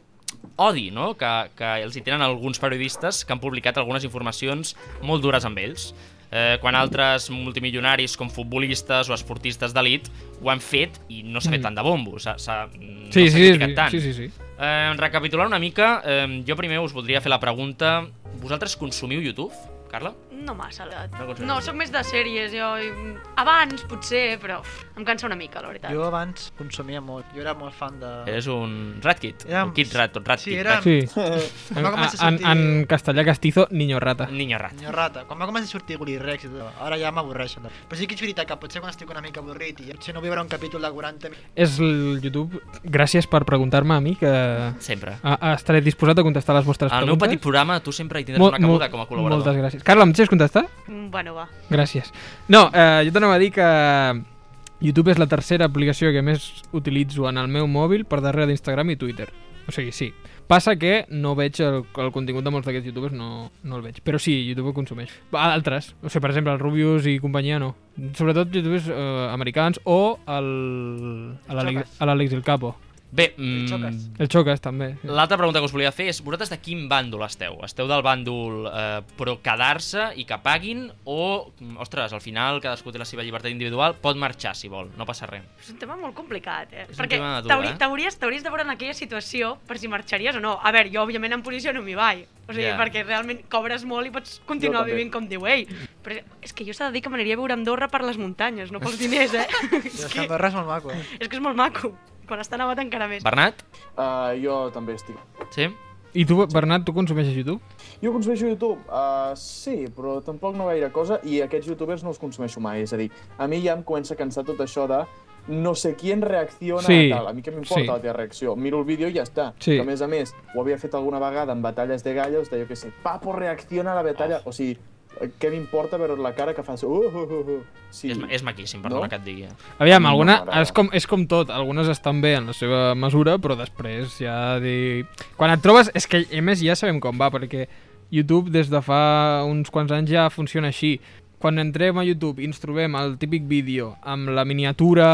odi no? que, que els hi tenen alguns periodistes que han publicat algunes informacions molt dures amb ells. Eh, quan altres multimilionaris com futbolistes o esportistes d'elit ho han fet i no s'ha fet tant de bombo, s'ha s'ha- no
Mm. Sí,
s'ha
sí,
criticat
sí,
tant.
sí, sí, sí.
Eh, recapitulant una mica, eh, jo primer us voldria fer la pregunta, vosaltres consumiu YouTube, Carla?
No massa, la...
No
no,
consumeixo.
no, sóc més de sèries, jo. i- Abans, potser, però uf, em cansa una mica, la veritat.
Jo abans consumia molt. Jo era molt fan de...
Eres un ratkit,
Érem-
un kid rat, un ratkit.
Ah. Sí, érem- (laughs)
Sí. En,
Va començar a
en,
sortir-
en castellà castizo, niño rata.
Niño rat.
Senyor Rata, quan va començar a sortir Willy Rex i tot, ara ja m'avorreixen. Però sí que és veritat que potser quan estic una mica avorrit i potser no veurà un capítol de 40 minuts,
És el YouTube. Gràcies per preguntar-me a mi, que a,
Sempre.
a, estaré disposat a contestar les vostres
Al meu
preguntes.
petit programa tu sempre hi tindràs
Mol-
una
mol-
cabuda com a col·laborador.
Moltes gràcies. Carla, em deixes contestar?
Mm, Bueno, va.
Gràcies. No, eh, jo t'anava a dir que YouTube és la tercera aplicació que més utilitzo en el meu mòbil per darrere d'Instagram i Twitter. O sigui, sí. Passa que no veig el, el contingut de molts d'aquests youtubers, no, no el veig. Però sí, YouTube ho consumeix. Va, Altres, o sigui, per exemple, el Rubius i companyia no. Sobretot youtubers eh, americans o el, a l'Àlex a l'Àlex el Capo.
Bé, mm,
El Chocas també.
L'altra pregunta que us volia fer és, vosaltres de quin bàndol esteu? Esteu del bàndol eh, però quedar-se i que paguin o, mm, ostres, al final cadascú té la seva llibertat individual, pot marxar si vol, no passa res.
És un tema molt complicat, eh?
un
Perquè
tema dur,
t'hauri-
eh?
t'hauries t'hauries de veure en aquella situació per si marxaries o no. A veure, jo òbviament en posició no m'hi vaig. O sigui,
Ja.
yeah. perquè realment cobres molt i pots continuar
Jo també.
vivint com diu ell. Però és que jo s'ha de dir que m'aniria a viure a Andorra per les muntanyes, no pels diners, eh? (laughs)
És
és, que,
que Andorra és molt maco, eh?
és que és molt maco. Quan està nevat encara més.
Bernat?
Uh, jo també estic.
Sí?
I tu, Bernat, tu consumeixes YouTube?
Jo consumeixo YouTube? Uh, sí, però tampoc no gaire cosa i aquests youtubers no els consumeixo mai. És a dir, a mi ja em comença a cansar tot això de no sé qui reacciona
Sí,
a tal. A mi què m'importa
sí.
la teva reacció? Miro el vídeo i ja està.
Sí.
Que a més a més, ho havia fet alguna vegada en batalles de gallos, de jo què sé, Papo reacciona a la batalla. O sigui, eh, què m'importa veure la cara que fas... Uh, uh, uh, uh. Sí.
És, ma- és maquíssim, perdona
No?
que et digui. eh?
Aviam,
No
alguna,
m'agrada.
és, com, és com tot, algunes estan bé en la seva mesura, però després ja de... Quan et trobes, és que a més ja sabem com va, perquè YouTube des de fa uns quants anys ja funciona així. Quan entrem a YouTube i ens trobem el típic vídeo amb la miniatura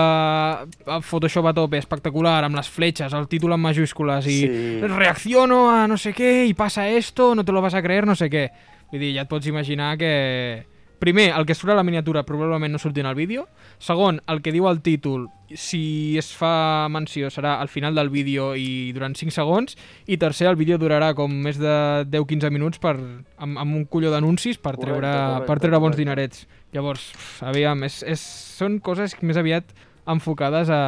a Photoshop a tope, espectacular, amb les fletxes, el títol en majúscules i
Sí.
reacciono a no sé què i passa esto, no te lo vas a creer, no sé què. Vull dir, ja et pots imaginar que... Primer, el que surt a la miniatura probablement no surti en el vídeo. Segon, el que diu el títol, si es fa menció, serà al final del vídeo i durant 5 segons. I tercer, el vídeo durarà com més de 10-15 minuts per, amb, amb un colló d'anuncis per
Correcte,
treure,
correcte,
per treure bons
correcte.
dinerets. Llavors, uf, aviam, és, és, són coses que més aviat enfocades a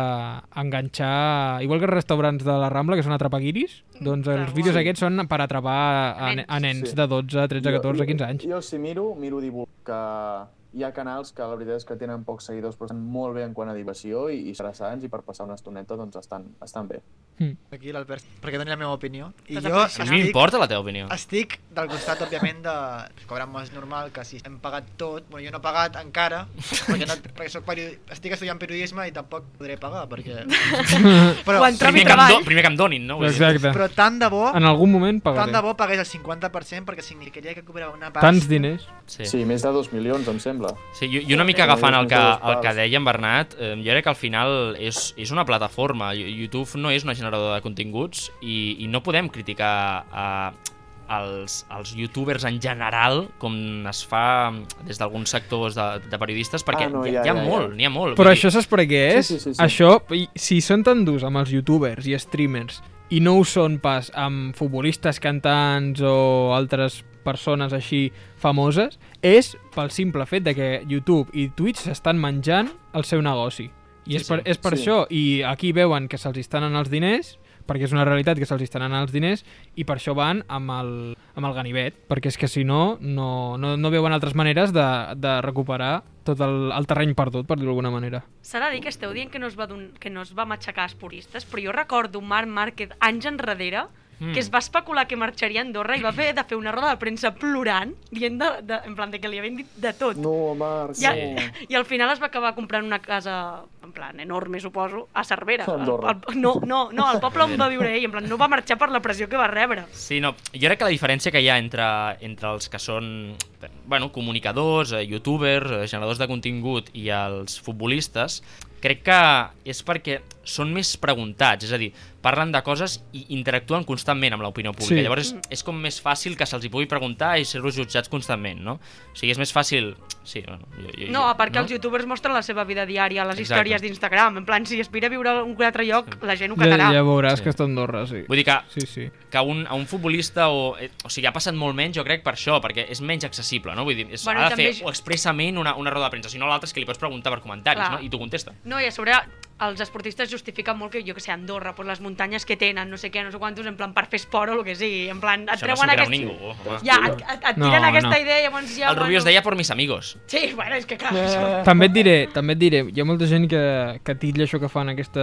enganxar... Igual que els restaurants de la Rambla, que són atrapaguiris, doncs
Tal
els
qual.
vídeos aquests són per atrapar a,
Nens.
a nens
Sí.
de 12, 13, 14, 15 anys.
Jo, jo si miro, miro divulg, que hi ha canals que la veritat és que tenen pocs seguidors però estan molt bé en quant a diversió i, i interessants i per passar una estoneta doncs estan, estan bé.
Aquí l'Albert, perquè doni la meva opinió. I
T'has de
jo
A
posicionar.
mi m'importa la teva opinió.
Estic del costat, òbviament, de cobrar més normal, que si hem pagat tot, bueno, jo no he pagat encara, perquè, no, perquè soc peri... estic estudiant periodisme i tampoc podré pagar,
(laughs)
perquè... Però,
Quan
Primer
trobi
que, em
treball.
do, primer que em donin, no? Vull dir,
(laughs) Exacte.
però tant de bo,
En algun moment
tant de
pagaré.
bo pagués el 50% perquè significaria que cobrava una pasta.
Tants diners.
Sí.
Sí, més de 2 milions, em sembla.
Sí, jo, jo una mica agafant el que, el que
Parts.
deia en Bernat, eh, jo crec que al final és, és una plataforma. Yo- YouTube no és una generadora de continguts i, i no podem criticar a, els, els youtubers en general com es fa des d'alguns sectors de, de periodistes perquè
Ah, no,
hi,
ja,
ha- hi ha
ja, ja.
molt, n'hi ha molt.
Però
Vull
això
dir,
saps per què és?
Sí, sí, sí, sí.
Això, i- si són tan durs amb els youtubers i streamers i no ho són pas amb futbolistes, cantants o altres persones així famoses, és pel simple fet de que YouTube i Twitch s'estan menjant el seu negoci. I
Sí,
és per,
sí.
és per
Sí.
això, i aquí veuen que se'ls estan anant els diners, perquè és una realitat que se'ls estan anant els diners, i per això van amb el, amb el ganivet, perquè és que si no, no, no, no veuen altres maneres de, de recuperar tot el, el terreny perdut, per dir-ho d'alguna manera.
S'ha de dir que esteu dient que no es va, don... que no es va matxacar els puristes, però jo recordo Marc Márquez anys enrere mm. que es va especular que marxaria a Andorra i va fer de fer una roda de premsa plorant, dient de, de, en plan de que li havien dit de tot.
No, Marc,
Ja.
no.
I al final es va acabar comprant una casa, en plan, enorme, suposo, a Cervera.
A Andorra.
Al- al- no, no, no, al poble on va viure ell, en plan, no va marxar per la pressió que va rebre.
Sí, no, jo crec que la diferència que hi ha entre, entre els que són bueno, comunicadors, eh, youtubers, eh, generadors de contingut i els futbolistes, crec que és perquè són més preguntats, és a dir, parlen de coses i interactuen constantment amb l'opinió pública.
Sí.
Sí. Llavors és, és com més fàcil que se'ls hi pugui preguntar i ser-los jutjats constantment, no? O sigui, és més fàcil... Sí, bueno, jo, jo,
No, a part que
no?
els youtubers mostren la seva vida diària, les
Exacte.
històries d'Instagram, en plan, si aspira a viure a un altre lloc, la gent ho
Ja,
catarà.
ja veuràs
Sí.
sí. que està a Andorra, sí.
Vull dir que
Sí, sí.
que a un, a un futbolista o... eh, O sigui, ha passat molt menys, jo crec, per això, perquè és menys accessible, no? Vull dir, és,
Bueno,
bueno,
i
ha de fer
també és-
o expressament una, una roda de premsa, si no l'altre és que li pots preguntar per comentaris,
Clar.
no? I tu contesta.
No, i a sobre els esportistes justifiquen molt que, jo que sé, Andorra, pues, les muntanyes que tenen, no sé què, no sé quantos, en plan per fer esport o el que sigui. En plan, et
Això no s'ho
treuen
creu
aquest...
ningú, home.
Ja, et, et, et
No,
tiren aquesta
no.
idea i llavors ja...
El Rubius deia por mis amigos.
Sí, bueno, és que clar...
També et diré, també et diré, hi ha molta gent que, que titlla això que fan aquesta,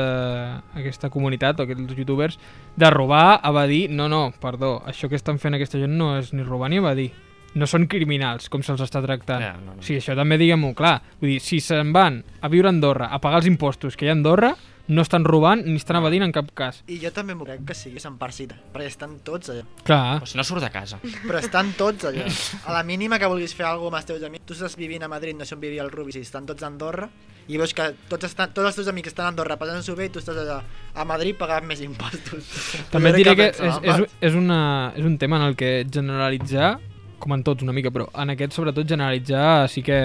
aquesta comunitat o aquests youtubers de robar, evadir, no, no, perdó, això que estan fent aquesta gent no és ni robar ni evadir. No són criminals, com se'ls està tractant.
Ja, no, no.
Sí, això també diguem-ho clar. Vull dir, si se'n van a viure a Andorra, a pagar els impostos que hi ha a Andorra, no estan robant ni
Ah.
estan evadint en cap cas.
I jo també m'ho crec que sigui Sant Parcita, perquè estan tots eh, allà.
Clar.
Però si no surt de
(laughs)
casa.
Però estan tots allà. A la mínima que vulguis fer alguna cosa amb els teus amics, tu estàs vivint a Madrid, no sé on vivia el Rubi, si estan tots a Andorra, i veus que tots, estan, tots els teus amics estan a Andorra passant-s'ho bé i tu estàs allà a Madrid pagant més impostos.
(laughs) També et
Llavors,
diré
què
que
pensa,
és,
va?
és, és, una, és un tema en el que generalitzar, com en tots una mica, però en aquest sobretot generalitzar sí que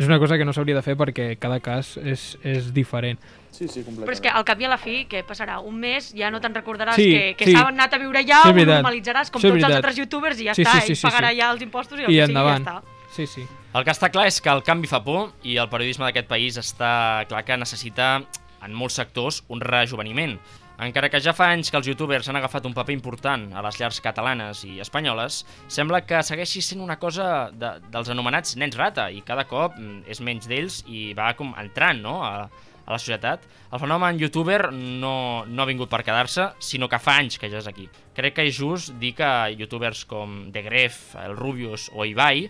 és una cosa que no s'hauria de fer perquè cada cas és, és diferent.
Sí, sí, completament.
Però és que al cap i a la fi, què passarà? Un mes ja no te'n recordaràs
Sí,
que, que
sí.
s'ha anat a viure allà,
Sí, és
ho
veritat.
normalitzaràs com
Sí, és
tots els
veritat.
altres youtubers i ja
Sí,
està,
sí, sí,
ell
sí,
pagarà
sí.
ja els impostos i el
I
que sigui ja
endavant.
està.
Sí, sí.
El que està clar és que el canvi fa por i el periodisme d'aquest país està clar que necessita, en molts sectors, un rejuveniment. Encara que ja fa anys que els youtubers han agafat un paper important a les llars catalanes i espanyoles, sembla que segueixi sent una cosa de, dels anomenats nens rata i cada cop mm, és menys d'ells i va com entrant no? a, a la societat. El fenomen youtuber no, no ha vingut per quedar-se, sinó que fa anys que ja és aquí. Crec que és just dir que youtubers com The Gref, el Rubius o Ibai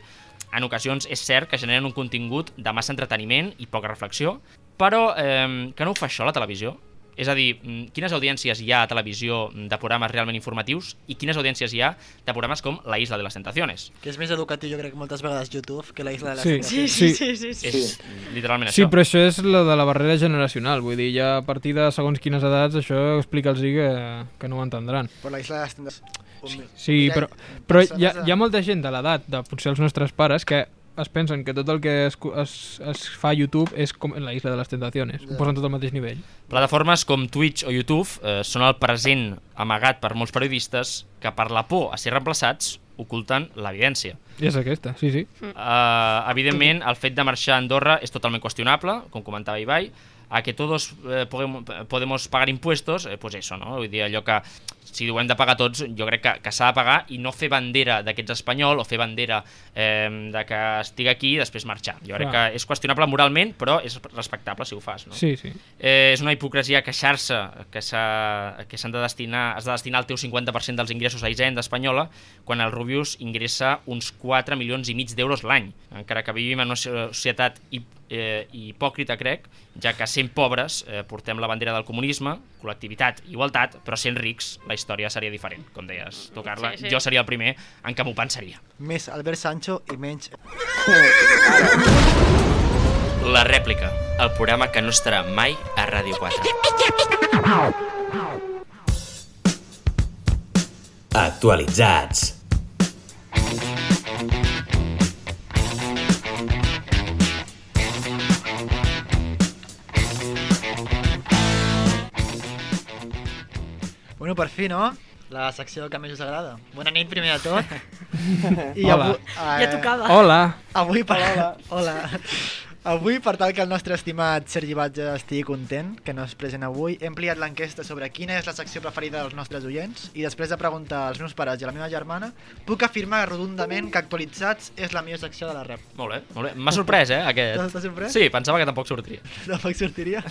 en ocasions és cert que generen un contingut de massa entreteniment i poca reflexió, però eh, que no ho fa això la televisió? És a dir, mm, quines audiències hi ha a televisió mm, de programes realment informatius i quines audiències hi ha de programes com La Isla de les Tentaciones?
Que és més educatiu, jo crec, moltes vegades YouTube que la Isla de la
Sí.
Sí,
Tentació.
sí,
Sí.
sí, sí, sí.
És literalment
Sí,
això.
però això és la de la barrera generacional, vull dir, ja a partir de segons quines edats, això explica'ls que, que no ho entendran.
Però la Isla de les Tentacions... Sí,
Sí, però, però hi, ha, hi ha molta gent de l'edat de potser els nostres pares que es pensen que tot el que es, cu- es, es fa a YouTube és com en la isla de les tentaciones. Ho posen tot al mateix nivell.
Plataformes com Twitch o YouTube eh, són el present amagat per molts periodistes que per la por a ser reemplaçats oculten l'evidència.
I és aquesta, sí, sí.
Uh, evidentment, el fet de marxar a Andorra és totalment qüestionable, com comentava Ibai, a que todos eh, podem, podemos pagar impuestos, eh, pues eso, no? Vull dir, allò que si ho hem de pagar tots, jo crec que, que s'ha de pagar i no fer bandera de que ets espanyol o fer bandera eh, de que estic aquí i després marxar. Jo crec
Clar.
que és qüestionable moralment, però és respectable si ho fas, no?
Sí, sí.
Eh, és una hipocresia queixar-se que s'ha- que s'han de destinar, has de destinar el teu 50% dels ingressos a Hisenda espanyola quan el Rubius ingressa uns 4 milions i mig d'euros l'any. Encara que vivim en una so- societat hip, eh, hipòcrita, crec, ja que sent pobres eh, portem la bandera del comunisme, col·lectivitat, igualtat, però sent rics la història seria diferent, com deies tu, Carla.
Sí, sí.
Jo seria el primer en què m'ho pensaria.
Més Albert Sancho i menys...
La rèplica, el programa que no estarà mai a Ràdio 4.
Actualitzats.
Bueno, per fi, no? La secció que més us agrada. Bona nit, primer de
(laughs)
tot.
Hola.
avui-
Ja tocava.
Hola!
Avui per... Hola. Hola. Avui, per tal que el nostre estimat Sergi Batja estigui content, que no es present avui, he ampliat l'enquesta sobre quina és la secció preferida dels nostres oients i després de preguntar als meus pares i a la meva germana, puc afirmar rotundament que actualitzats és la millor secció de la rep. (laughs)
Molt bé, molt bé. M'ha sorprès, eh, aquest.
T'has sorprès?
Sí, pensava que tampoc sortiria.
Tampoc (laughs) sortiria?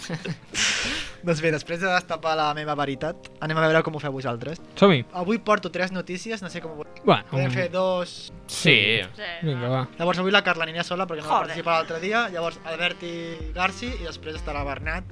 doncs bé, després de destapar la meva veritat, anem a veure com ho feu vosaltres.
Som-hi!
Avui porto tres notícies, no sé com ho voleu.
Bueno,
Podem fer dos,
Sí.
vinga, va.
Llavors avui la Carla anirà sola perquè no va
Joder.
participar l'altre dia, llavors Albert i Garci i després estarà Bernat.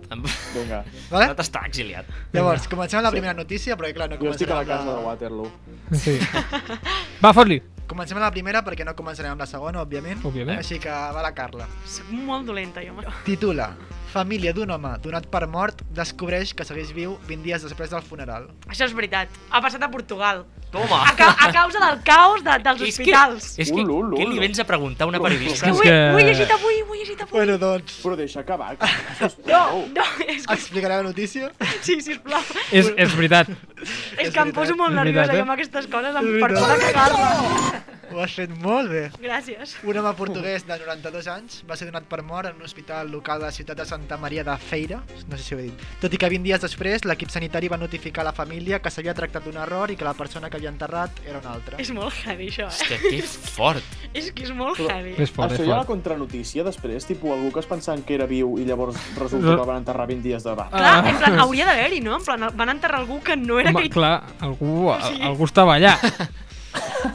Vinga,
Vale?
(laughs) Bernat està exiliat.
Llavors, comencem amb la primera notícia, perquè clar, no
jo estic
començarem
a la
amb
casa de Waterloo.
Sí. Va, fot-li!
Comencem amb la primera perquè no començarem amb la segona, òbviament.
Òbviament.
Així que va la Carla.
Soc molt dolenta, jo. amb això.
Titula Família d'un home donat per mort descobreix que segueix viu 20 dies després del funeral.
Això és veritat. Ha passat a Portugal.
Toma!
A, ca a causa del caos de, dels
És que-
hospitals.
És que,
Ulu, ulu,
què li
ulu.
vens a preguntar a una periodista?
Que ho,
És
he,
que-
ho he llegit avui, ho he llegit avui.
Bueno, doncs,
Però deixa acabar. que-
No, no, és que...
(laughs) explicaré la notícia.
Sí, sisplau.
És, és veritat.
És que em poso molt
És
nerviosa
veritat, eh?
jo amb aquestes coses, em
És veritat.
perdona cagar-me.
Ho has fet molt bé.
Gràcies.
Un home portuguès de 92 anys va ser donat per mort en un hospital local de la ciutat de Santa Maria de Feira, no sé si ho he dit. Tot i que 20 dies després, l'equip sanitari va notificar a la família que s'havia tractat d'un error i que la persona que havia enterrat era una altra.
És molt heavy, això, eh?
Hòstia, que fort.
És que és molt
Però-
heavy.
Ah,
És fort,
Això
és
hi ha la
fort.
contranotícia després, tipus algú que es pensaven que era viu i llavors resulta que el van enterrar 20 dies davant.
Clar, en plan, hauria d'haver-hi, no? En plan, van enterrar algú que no era
Ah. Home,
aquell...
clar, algú,
sigui-
algú estava allà.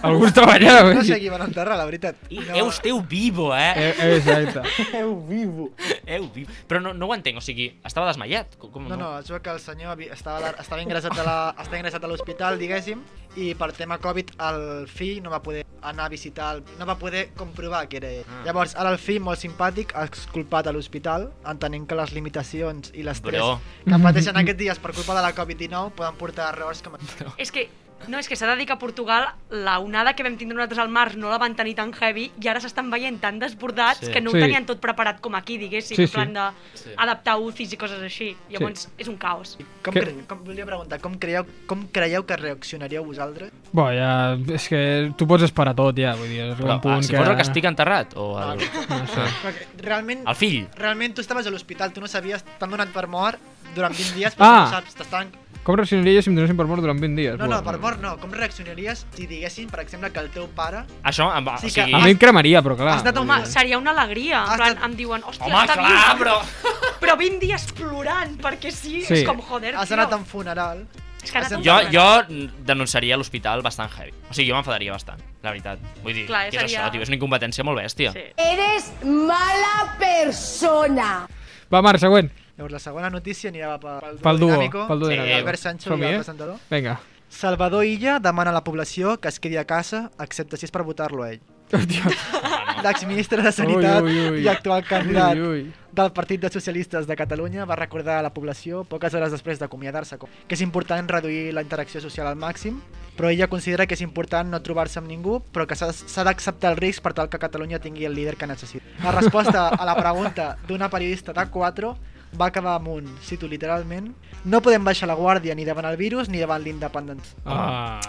Algú treballava,
No
eh?
sé qui van enterrar, la veritat.
I
(laughs) No.
eu esteu vivo, eh?
Eh, eh, Exacte.
Eu vivo.
Eu vivo. Però no, no ho entenc, o sigui, estava desmaiat. Com, com
Eh. No, no, es veu que el senyor havi- estava, a la- estava ingressat a la, estava ingressat a l'hospital, diguéssim, i per tema Covid el fill no va poder anar a visitar, el, no va poder comprovar que era ell.
Ah.
Llavors, ara el fill, molt simpàtic, ha exculpat a l'hospital, entenent que les limitacions i l'estrès
Bro.
que pateixen aquests dies per culpa de la Covid-19 poden portar a errors com...
És que no, és que s'ha de dir que a Portugal la onada que vam tindre nosaltres al març no la van tenir tan heavy i ara s'estan veient tan desbordats
Sí.
que no ho
Sí.
tenien tot preparat com aquí, diguéssim,
Sí,
en plan
sí.
de
Sí.
adaptar UCIs i coses així. Llavors és un caos.
Com,
Que-
cre... com volia preguntar, com creieu, com creieu que reaccionaríeu vosaltres?
Bo, ja... És que tu pots esperar tot, ja. Vull dir, arriba
Però,
un punt
ah, si
que...
posa el que estic enterrat o el,
Ah.
Ah.
Perquè realment...
el fill.
Realment tu estaves a l'hospital, tu no sabies, t'han donat per mort durant 20 dies,
Ah.
però ah. no saps, t'estaven
Com reaccionaria jo si em donessin per mort durant 20 dies?
No,
Bo,
no, per mort no. Com reaccionaries si diguessin, per exemple, que el teu pare...
Això, em va, o
Sí que-
sigui...
A mi em cremaria, però clar.
Has anat a un
Home, seria una alegria.
Ah,
En plan,
està-
em diuen, hòstia,
Home,
està
clar,
viu.
però...
Però 20 dies plorant, perquè sí,
Sí.
és com, joder,
Has
tio.
anat a un funeral.
És que ha anat
has
a un
Jo,
funeral.
jo denunciaria l'hospital bastant heavy. O sigui, jo m'enfadaria bastant, la veritat. Vull dir,
Clar,
què és
seria-
això, tio? És una incompetència molt bèstia.
Sí.
Eres mala persona.
Va, Marc, següent.
Llavors, la segona notícia anirà pel,
Pel duo,
dinámico,
pel duo
amb
dinámico.
Albert Sancho i
Som-hi,
el
eh?
presentador.
Vinga.
Salvador Illa demana a la població que es quedi a casa, excepte si és per votar-lo a ell. L'exministre de
Ah.
Sanitat
Ui, ui, ui.
i actual candidat
Ui, ui.
del Partit de Socialistes de Catalunya va recordar a la població poques hores després d'acomiadar-se com- que és important reduir la interacció social al màxim, però ella considera que és important no trobar-se amb ningú, però que s'ha- s'ha d'acceptar el risc per tal que Catalunya tingui el líder que necessita. La resposta a la pregunta d'una periodista de 4 va acabar amb un, cito literalment, no podem baixar la guàrdia ni davant el virus ni davant l'independència.
Ah.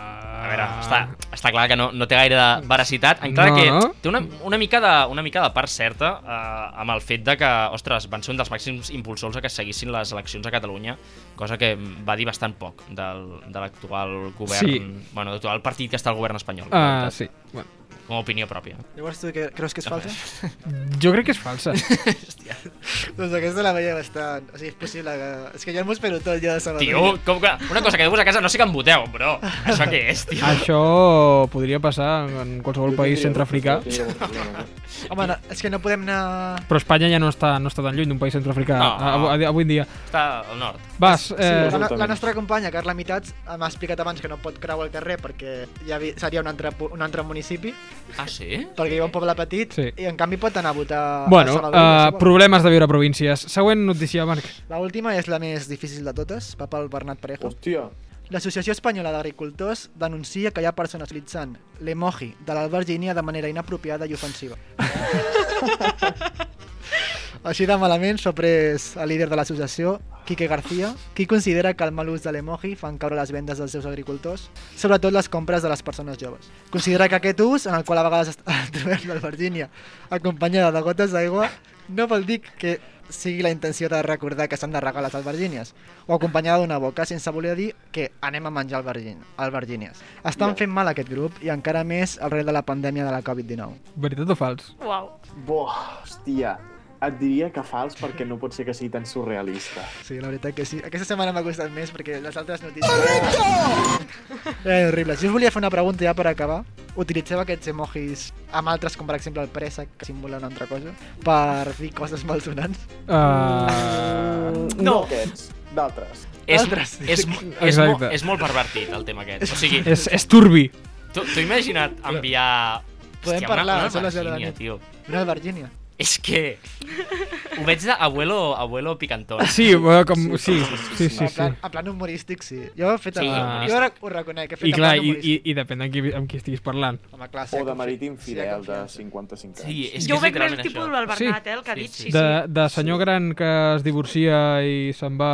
A veure, està, està clar que no, no té gaire de veracitat, encara
No,
que
no.
té una, una, mica de, una mica de part certa eh, amb el fet de que, ostres, van ser un dels màxims impulsors a que seguissin les eleccions a Catalunya, cosa que va dir bastant poc del, de l'actual govern,
Sí.
bueno, de l'actual partit que està al govern espanyol,
Ah,
la veritat,
sí. Bueno,
com a opinió pròpia.
Llavors tu què- creus que és falsa?
jo crec que és
(laughs)
falsa.
doncs aquesta la veia bastant... O sigui, és possible que... És que jo m'ho espero tot, jo, de Salvador.
Tio, com que, una cosa que dius a casa, no sé que em voteu, però això què és, tio?
Això podria passar en qualsevol país centroafricà.
Home, no, és que no podem anar...
Però Espanya ja no està, no està tan lluny d'un país centroafricà
No.
no. avui, avui en dia.
Està al nord.
Vas,
Eh,
eh,
la,
Absolutament.
la nostra companya, Carla Mitats, m'ha explicat abans que no pot creuar el carrer perquè ja vi, seria un altre, pu- un altre municipi,
Ah, sí?
perquè hi ha un poble petit,
Sí.
i en canvi pot anar a votar a
bueno,
Salvador.
eh,
si vol.
problemes de viure a províncies. Següent notícia, Marc.
La última és la més difícil de totes, va pel Bernat Parejo.
Hòstia,
L'Associació Espanyola d'Agricultors denuncia que hi ha persones utilitzant l'emoji de l'albergínia de manera inapropiada i ofensiva. Així de malament s'ho ha pres el líder de l'associació, Quique García, qui considera que el mal ús de l'emoji fan caure les vendes dels seus agricultors, sobretot les compres de les persones joves. Considera que aquest ús, en (laughs) el qual a vegades est- trobem l'albergínia acompanyada de gotes d'aigua, no vol dir que sigui la intenció de recordar que s'han de regar les albergínies, o acompanyada d'una boca sense voler dir que anem a menjar albergín, albergínies. Estan fent mal aquest grup i encara més al rei de la pandèmia de la Covid-19.
Veritat o fals?
Uau.
bo, hòstia. Et diria que fals perquè no pot ser que sigui tan surrealista.
Sí, la veritat que sí. Aquesta setmana m'ha costat més perquè les altres notícies... Correcto! Eren horribles. Eh, Jo us volia fer una pregunta ja per acabar. Utilitzeu aquests emojis amb altres, com per exemple el préssec, que simula una altra cosa, per dir coses malsonants?
(laughs) Uh...
No, aquests, d'altres.
És,
Altres.
Ah. és, és, mo,
Exacte.
és molt pervertit el tema aquest. O sigui,
És, és turbi.
tu, tu imagina't enviar...
Podem
Hòstia,
parlar,
una,
són
una
les deu de la
Virgínia,
nit.
tio.
Una albergínia.
És que... Ho veig d'abuelo abuelo picantón.
Sí, bueno, com... Sí, sí, sí. sí.
en, plan, en plan humorístic, sí. Jo he fet...
Sí,
amb- jo
humorístic.
ho reconec, he fet
I
en
clar, i,
plan
i,
humorístic.
i depèn amb qui, amb qui estiguis parlant.
Home, clar, sí,
O de
confi-
marítim
sí, hi ha
fidel de
confiança.
55
Sí,
anys.
és
Jo ho
que és
veig més
literalment
tipus
això.
del Bernat,
Sí.
eh, el que ha
Sí,
dit.
sí,
Sí, sí.
De, de senyor gran que es divorcia i se'n va...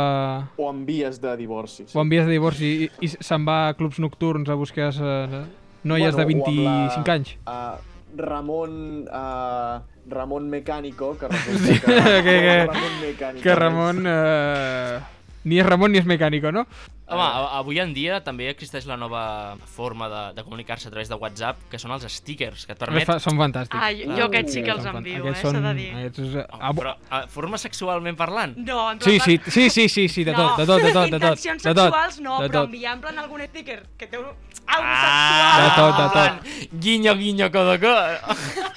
O en vies de divorci. sí.
O en vies de divorci i, i se'n va a clubs nocturns a buscar eh, noies de
Bueno, o amb
25 anys.
Uh, Ramon... Uh, Ramon Mecánico,
(laughs)
que resulta
Sí,
que,
que- que-
Ramon Mecánico
Que Ramon... Eh... Ni és Ramon ni és mecànico, no?
és-
Home, a- avui en dia també existeix la nova forma de, de comunicar-se a través de WhatsApp, que són els stickers, que et permet...
Fa- Són fantàstics.
Ai, Ah, jo aquests sí que els envio, eh, s'ha de dir.
Aquests, eh,
Home, Oh, Però a forma sexualment parlant?
No, en
Sí,
plan-
sí, sí, sí, sí, sí, de tot, de tot, de tot, de tot.
Intencions
De tot,
sexuals no,
de
però
tot.
enviar en plan algun sticker que té un...
De tot, de tot.
Ah, Guinyo, guinyo, codoco. (laughs)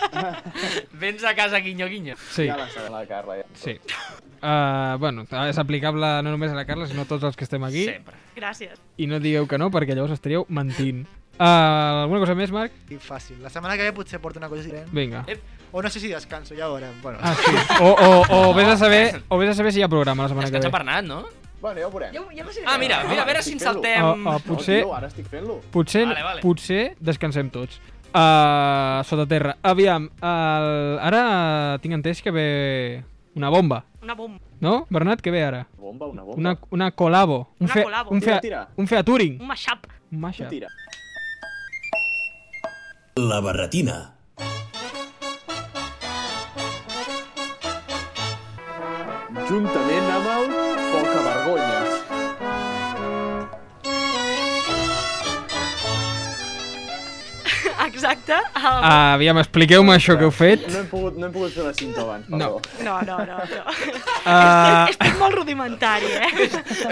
Vens a casa, guinyo, guinyo.
Sí. Ja la
la Carla, ja.
Sí. Uh, bueno, és aplicable no només a la Carla, sinó a tots els que estem aquí.
Sempre.
Gràcies.
I no digueu que no, perquè llavors estaríeu mentint. Uh, alguna cosa més, Marc?
I fàcil. La setmana que ve potser porto una cosa diferent.
Vinga.
O no sé si descanso, ja veurem. Bueno.
Ah, sí. O, o, o, vés a saber, o vés a saber si hi ha programa la setmana que
Descansa
ve.
per Nat, no?
Bueno, ja ho veurem.
Ja, ja
Ah, mira, mira, a veure si ens saltem...
O, o potser,
No, tio, ara estic fent-lo.
potser,
Vale, vale.
potser descansem tots. Uh, sota terra. Aviam, el... ara tinc entès que ve una bomba.
Una bomba.
No, Bernat, què ve ara?
Bomba, una bomba.
Una, una colabo. Un
Una
fe,
colabo.
Un, fe,
Tira, tira.
un featuring.
Un mashup. (laughs)
Un mashup.
Tira.
La barretina.
Juntament amb el Poca Vergonyes.
Exacte. El...
Ah, aviam, expliqueu-me això que heu fet.
No hem pogut, no hem pogut fer la cinta abans,
No.
perdó.
No, no, no. no. (laughs)
Ah.
Estic, estic molt rudimentari, eh?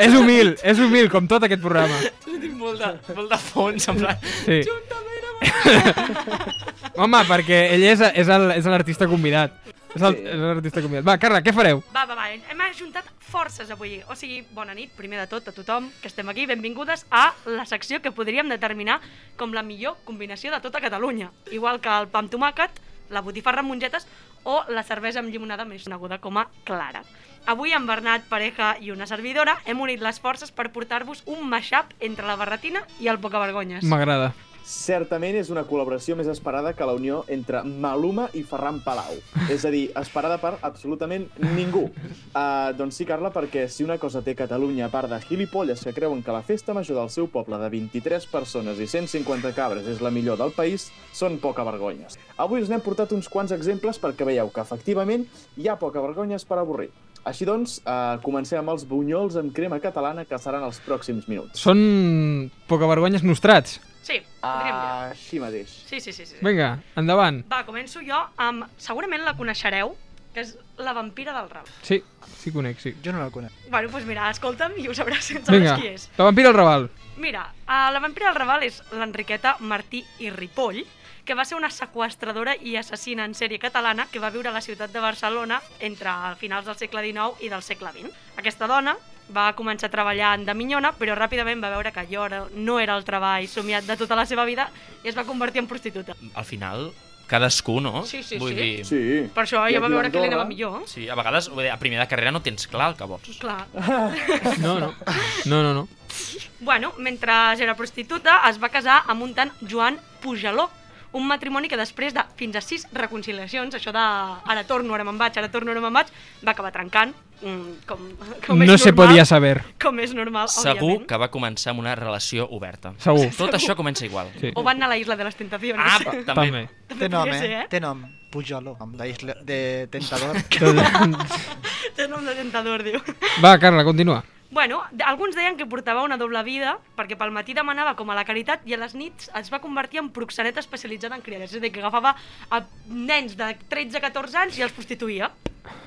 És humil, és humil, com tot aquest programa.
Tinc molt de, molt de fons, en plan...
Sí.
Juntament amb...
Home, perquè ell és, és el- és l'artista convidat. És el- és l'artista convidat. Va, Carla, què fareu?
Va, va, va, hem ajuntat forces avui. O sigui, bona nit, primer de tot, a tothom que estem aquí. Benvingudes a la secció que podríem determinar com la millor combinació de tota Catalunya. Igual que el pa amb tomàquet, la botifarra amb mongetes o la cervesa amb llimonada més coneguda com a Clara. Avui en Bernat, pareja i una servidora hem unit les forces per portar-vos un mashup entre la barretina i el pocavergonyes.
M'agrada.
Certament és una col·laboració més esperada que la unió entre Maluma i Ferran Palau. És a dir, esperada per absolutament ningú. Uh, doncs sí, Carla, perquè si una cosa té Catalunya, a part de gilipolles que creuen que la festa major del seu poble de 23 persones i 150 cabres és la millor del país, són poca vergonyes. Avui us n'hem portat uns quants exemples perquè veieu que, efectivament, hi ha poca vergonyes per avorrir. Així doncs, uh, comencem amb els bunyols amb crema catalana que seran els pròxims minuts.
Són pocavergonyes nostrats.
Sí, podríem dir.
Ah, així mateix.
Sí, sí, sí. sí.
Vinga, endavant.
Va, començo jo amb... Segurament la coneixereu, que és la vampira del Raval.
Sí, sí conec, sí.
Jo no la conec.
Bueno, doncs mira, escolta'm i ho sabràs, sabràs
Vinga,
qui és.
la vampira al Raval.
Mira, eh, la vampira del Raval és l'Enriqueta Martí i Ripoll, que va ser una sequestradora i assassina en sèrie catalana que va viure a la ciutat de Barcelona entre finals del segle XIX i del segle XX. Aquesta dona va començar a treballar en de minyona, però ràpidament va veure que allò era- no era el treball somiat de tota la seva vida i es va convertir en prostituta.
Al final, cadascú, no?
Sí, sí,
Vull
sí.
Dir...
Sí.
Per això
I
ella va
aquí a
veure que li
Andorra-
anava millor.
Sí, a vegades, vull dir, a primera de carrera no tens clar el que vols.
Clar.
No, no. No, no, no.
Bueno, mentre era prostituta, es va casar amb un tant Joan Pujaló, un matrimoni que després de fins a sis reconciliacions, això de ara torno, ara me'n vaig, ara torno, ara me'n vaig, va acabar trencant, mm, com, com
No
és
se
normal,
podia saber.
Com és normal,
Segur
òbviament.
que va començar amb una relació oberta.
Segur.
Tot això comença igual.
Sí.
O van anar a la Isla de les Tentaciones.
Ah,
(laughs) també
també.
També.
Té nom,
podria ser,
eh? Té nom. Pujolo, amb la isla de Tentador.
Té nom de tentador, diu.
Va, Carla, continua.
Bueno, d- alguns deien que portava una doble vida, perquè pel matí demanava com a la caritat i a les nits es va convertir en proxeneta especialitzada en criades, és a dir, que agafava a nens de 13-14 anys i els prostituïa.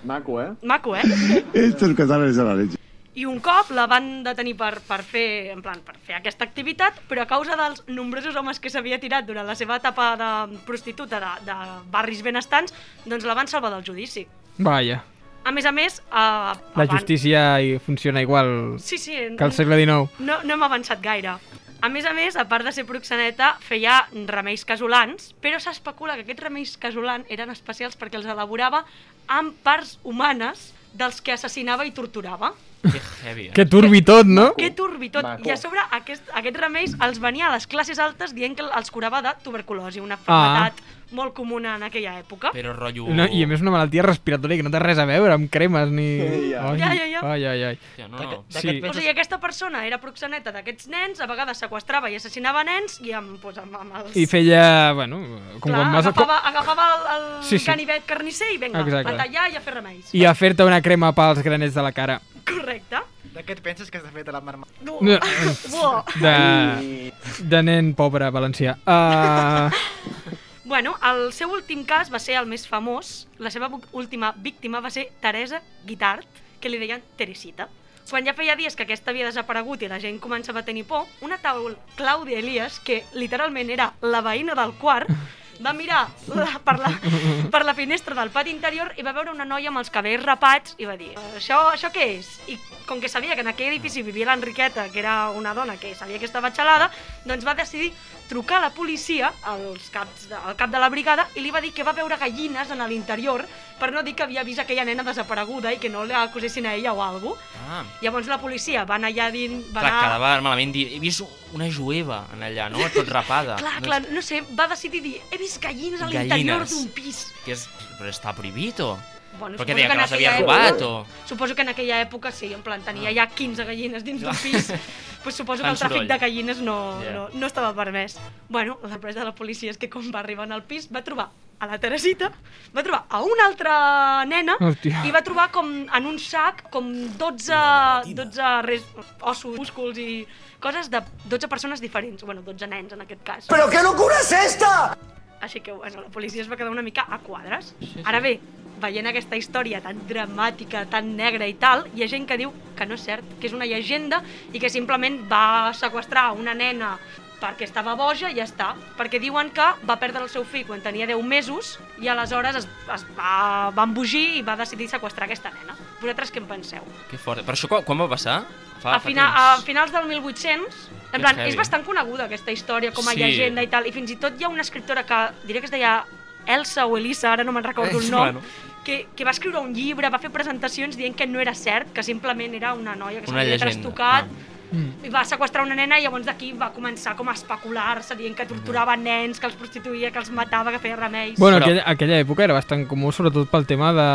Maco, eh?
Maco,
(laughs)
eh?
Estos catalanes de la leche.
I un cop la van detenir per, per, fer, en plan, per fer aquesta activitat, però a causa dels nombrosos homes que s'havia tirat durant la seva etapa de prostituta de, de barris benestants, doncs la van salvar del judici.
Vaja.
A més a més... Eh,
La
van-
justícia hi funciona igual
Sí, sí.
que al segle XIX.
No, no hem avançat gaire. A més a més, a part de ser proxeneta, feia remeis casolans, però s'especula que aquests remeis casolans eren especials perquè els elaborava amb parts humanes dels que assassinava i torturava.
Que heavy, eh?
Que turbi tot, no?
Que turbi tot.
Maco.
I a sobre aquest, aquests remeis els venia a les classes altes dient que els curava de tuberculosi, una
Ah.
enfermedad molt comuna en aquella època.
Però rotllo...
No, I a més una malaltia respiratòria que no té res a veure amb cremes ni...
Sí, ja.
Ai,
Ja, ja, ja.
Ai, ai, ai.
Hòstia, no, no.
Sí.
O sigui, aquesta persona era proxeneta d'aquests nens, a vegades sequestrava i assassinava nens i amb, doncs, amb, amb els...
I feia, bueno, com
Clar,
quan vas a...
agafava, agafava el, el
Sí,
sí,
sí.
sí. ganivet carnisser i vinga,
Exacte.
a tallar i a fer remeis.
I a fer-te una crema pels granets de la cara.
Correcte.
(laughs) De Què et penses que s'ha fet a la marma? No.
(laughs)
No, De, de nen pobre valencià. Ah,
Bueno, el seu últim cas va ser el més famós. La seva bu- última víctima va ser Teresa Guitart, que li deien Teresita. Quan ja feia dies que aquesta havia desaparegut i la gent començava a tenir por, una taula, Clàudia Elias, que literalment era la veïna del quart, va mirar la, per, la, per la finestra del pati interior i va veure una noia amb els cabells rapats i va dir, això, això què és? I com que sabia que en aquell edifici vivia l'Enriqueta, que era una dona que sabia que estava xalada, doncs va decidir trucar a la policia, als caps de, al cap de la brigada, i li va dir que va veure gallines en l'interior per no dir que havia vist aquella nena desapareguda i que no l'acusessin a ella o alguna cosa.
Ah,
Llavors la policia va anar allà dins... Va
clar,
anar...
quedava malament dir, he vist una jueva en allà, no? Tot rapada.
Clar,
No
clar, no sé, va decidir dir, he vist gallines a
Gallines.
l'interior d'un pis.
és- Que és, però està prohibit, o?
Bueno,
Però què
suposo
deia,
que
que
en
les havia
aquella
robat,
època-
o...?
Suposo que en aquella època sí, en plan, tenia ja 15 gallines dins d'un
Clar. (laughs)
pis, pues suposo que
Ah. Fan
el tràfic
soroll.
de gallines no,
Ja.
no, no estava permès. Bueno, la presa de la policia és que quan va arribar al pis va trobar a la Teresita, va trobar a una altra nena
Hòstia.
i va trobar com en un sac com 12, 12 res, ossos, músculs i coses de 12 persones diferents, bueno, 12 nens en aquest cas.
Però que locura és esta?
Així que, bueno, la policia es va quedar una mica a quadres. Ara bé, veient aquesta història tan dramàtica, tan negra i tal, hi ha gent que diu que no és cert, que és una llegenda i que simplement va sequestrar una nena perquè estava boja i ja està. Perquè diuen que va perdre el seu fill quan tenia 10 mesos i aleshores es, es va, va embogir i va decidir sequestrar aquesta nena. Vosaltres què en penseu?
Que fort. Però això quan, quan va passar? Fa,
a,
fa
fina, a
temps.
finals del 1800,
Que
en plan,
heavy.
és bastant coneguda aquesta història com a
Sí.
llegenda i tal, i fins i tot hi ha una escriptora que diré que es deia Elsa o Elisa, ara no me'n recordo el
Elsa,
nom,
Eh, bueno.
que, que va escriure un llibre, va fer presentacions dient que no era cert, que simplement era una noia que
Una
s'havia
llegenda,
trastocat, i va sequestrar una nena i llavors d'aquí va començar com a especular-se dient que torturava nens, que els prostituïa, que els matava, que feia remeis.
bueno, aquella, aquella època era bastant comú, sobretot pel tema de,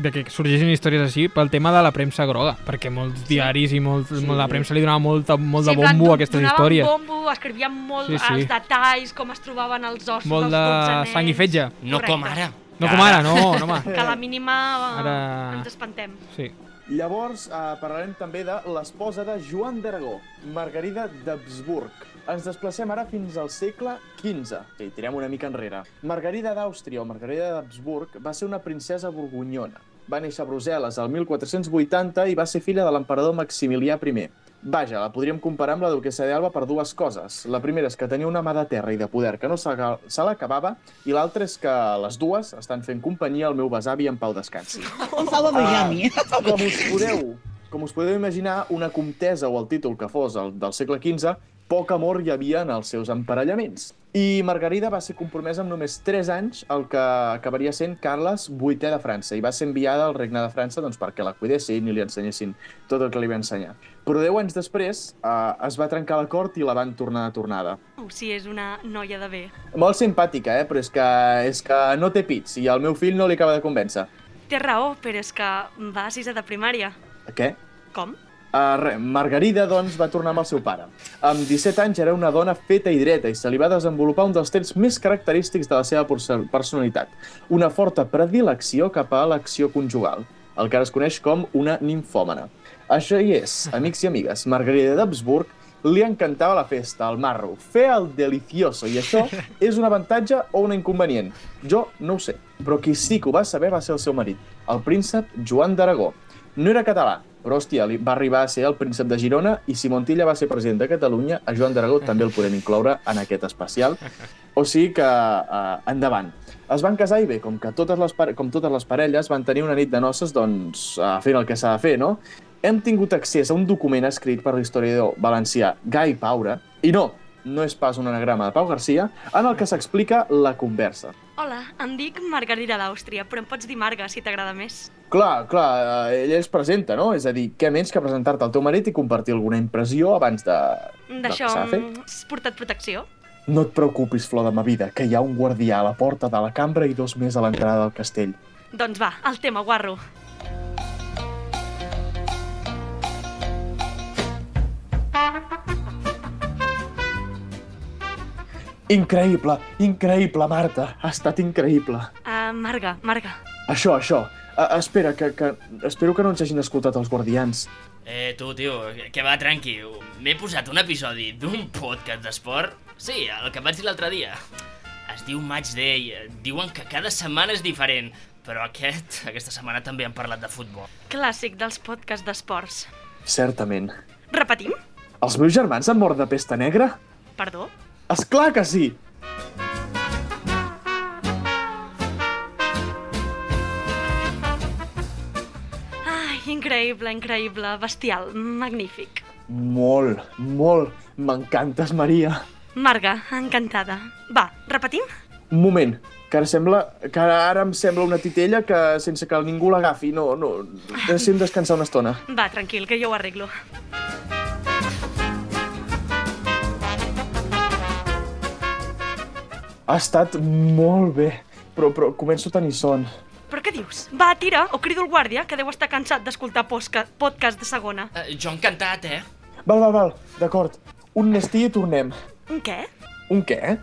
de que sorgissin històries així, pel tema de la premsa groga, perquè molts diaris i molt, la premsa li donava molta, molt de
en plan,
bombo a
don-
aquestes
donaven
històries.
bombo, escrivien molt
Sí, sí.
els detalls, com es trobaven els ossos
Molt
dels
de
12 nens.
sang i fetge.
No com ara.
No com ara, no, no, home.
Que a la mínima eh,
Ara-
ens espantem.
Sí.
Llavors, eh, parlarem també de l'esposa de Joan d'Aragó, Margarida d'Habsburg. Ens desplacem ara fins al segle XV. Sí, tirem una mica enrere. Margarida d'Àustria o Margarida d'Habsburg va ser una princesa borgonyona. Va néixer a Brussel·les el 1480 i va ser filla de l'emperador Maximilià I. Vaja, la podríem comparar amb la duquesa d'Alba per dues coses. La primera és que tenia una mà de terra i de poder que no se l'aca- se l'acabava i l'altra és que les dues estan fent companyia al meu besavi en pau descansi.
Estava brillami.
Ah, com us podeu, com us podeu imaginar, una comtesa o el títol que fos el, del segle XV, poc amor hi havia en els seus emparellaments. I Margarida va ser compromesa amb només 3 anys el que acabaria sent Carles VIII de França i va ser enviada al regne de França doncs, perquè la cuidessin i li ensenyessin tot el que li va ensenyar. Però 10 anys després eh, es va trencar la cort i la van tornar de tornada.
O si Oh, és una noia de bé.
Molt simpàtica, eh? però és que, és que no té pits i al meu fill no li acaba de convèncer.
Té raó, però és que va a sisè de primària.
Què?
Com?
Uh, re, Margarida, doncs, va tornar amb el seu pare. Amb 17 anys era una dona feta i dreta i se li va desenvolupar un dels trets més característics de la seva porce- personalitat, una forta predilecció cap a l'acció conjugal, el que ara es coneix com una ninfòmana. Això hi és, amics i amigues, Margarida d'Habsburg li encantava la festa, el marro, fer el delicioso, i això és un avantatge o un inconvenient? Jo no ho sé, però qui sí que ho va saber va ser el seu marit, el príncep Joan d'Aragó. No era català, però hòstia, li va arribar a ser el príncep de Girona i si Montilla va ser president de Catalunya, a Joan d'Aragó també el podem incloure en aquest especial. O sigui que eh, endavant. Es van casar i bé, com que totes les, pare- com totes les parelles van tenir una nit de noces, doncs eh, fent el que s'ha de fer, no? Hem tingut accés a un document escrit per l'historiador valencià Gai Paura, i no, no és pas un anagrama de Pau Garcia, en el que s'explica la conversa.
Hola, em dic Margarida d'Àustria, però em pots dir Marga si t'agrada més.
Clar, clar, eh, ell es presenta, no? És a dir, què menys que presentar-te al teu marit i compartir alguna impressió abans de... del que
D'això,
s'ha de fer?
mm, has portat protecció?
No et preocupis, flor de ma vida, que hi ha un guardià a la porta de la cambra i dos més a l'entrada del castell.
Doncs va, al tema, guarro.
Increïble, increïble, Marta, ha estat increïble.
Uh, Marga, Marga.
Això, això, Ah, espera, que, que... Espero que no ens hagin escoltat els guardians.
Eh, tu, tio, que va, tranqui. M'he posat un episodi d'un podcast d'esport. Sí, el que vaig dir l'altre dia. Es diu Match Day. Diuen que cada setmana és diferent. Però aquest, aquesta setmana també han parlat de futbol.
Clàssic dels podcasts d'esports.
Certament.
Repetim?
Els meus germans han mort de pesta negra?
Perdó?
És clar que sí!
Ai, increïble, increïble, bestial, magnífic.
Molt, molt. M'encantes, Maria.
Marga, encantada. Va, repetim?
Un moment, que ara sembla... que ara, ara em sembla una titella que sense que ningú l'agafi. No, no, deixem descansar una estona.
Va, tranquil, que jo ho arreglo.
Ha estat molt bé, però, però començo a tenir son.
Però què dius? Va, tira, o crido el guàrdia, que deu estar cansat d'escoltar posca- podcast de segona.
Eh, jo encantat, eh?
Val, val, val, d'acord. Un nestí i tornem.
Un què?
Un què?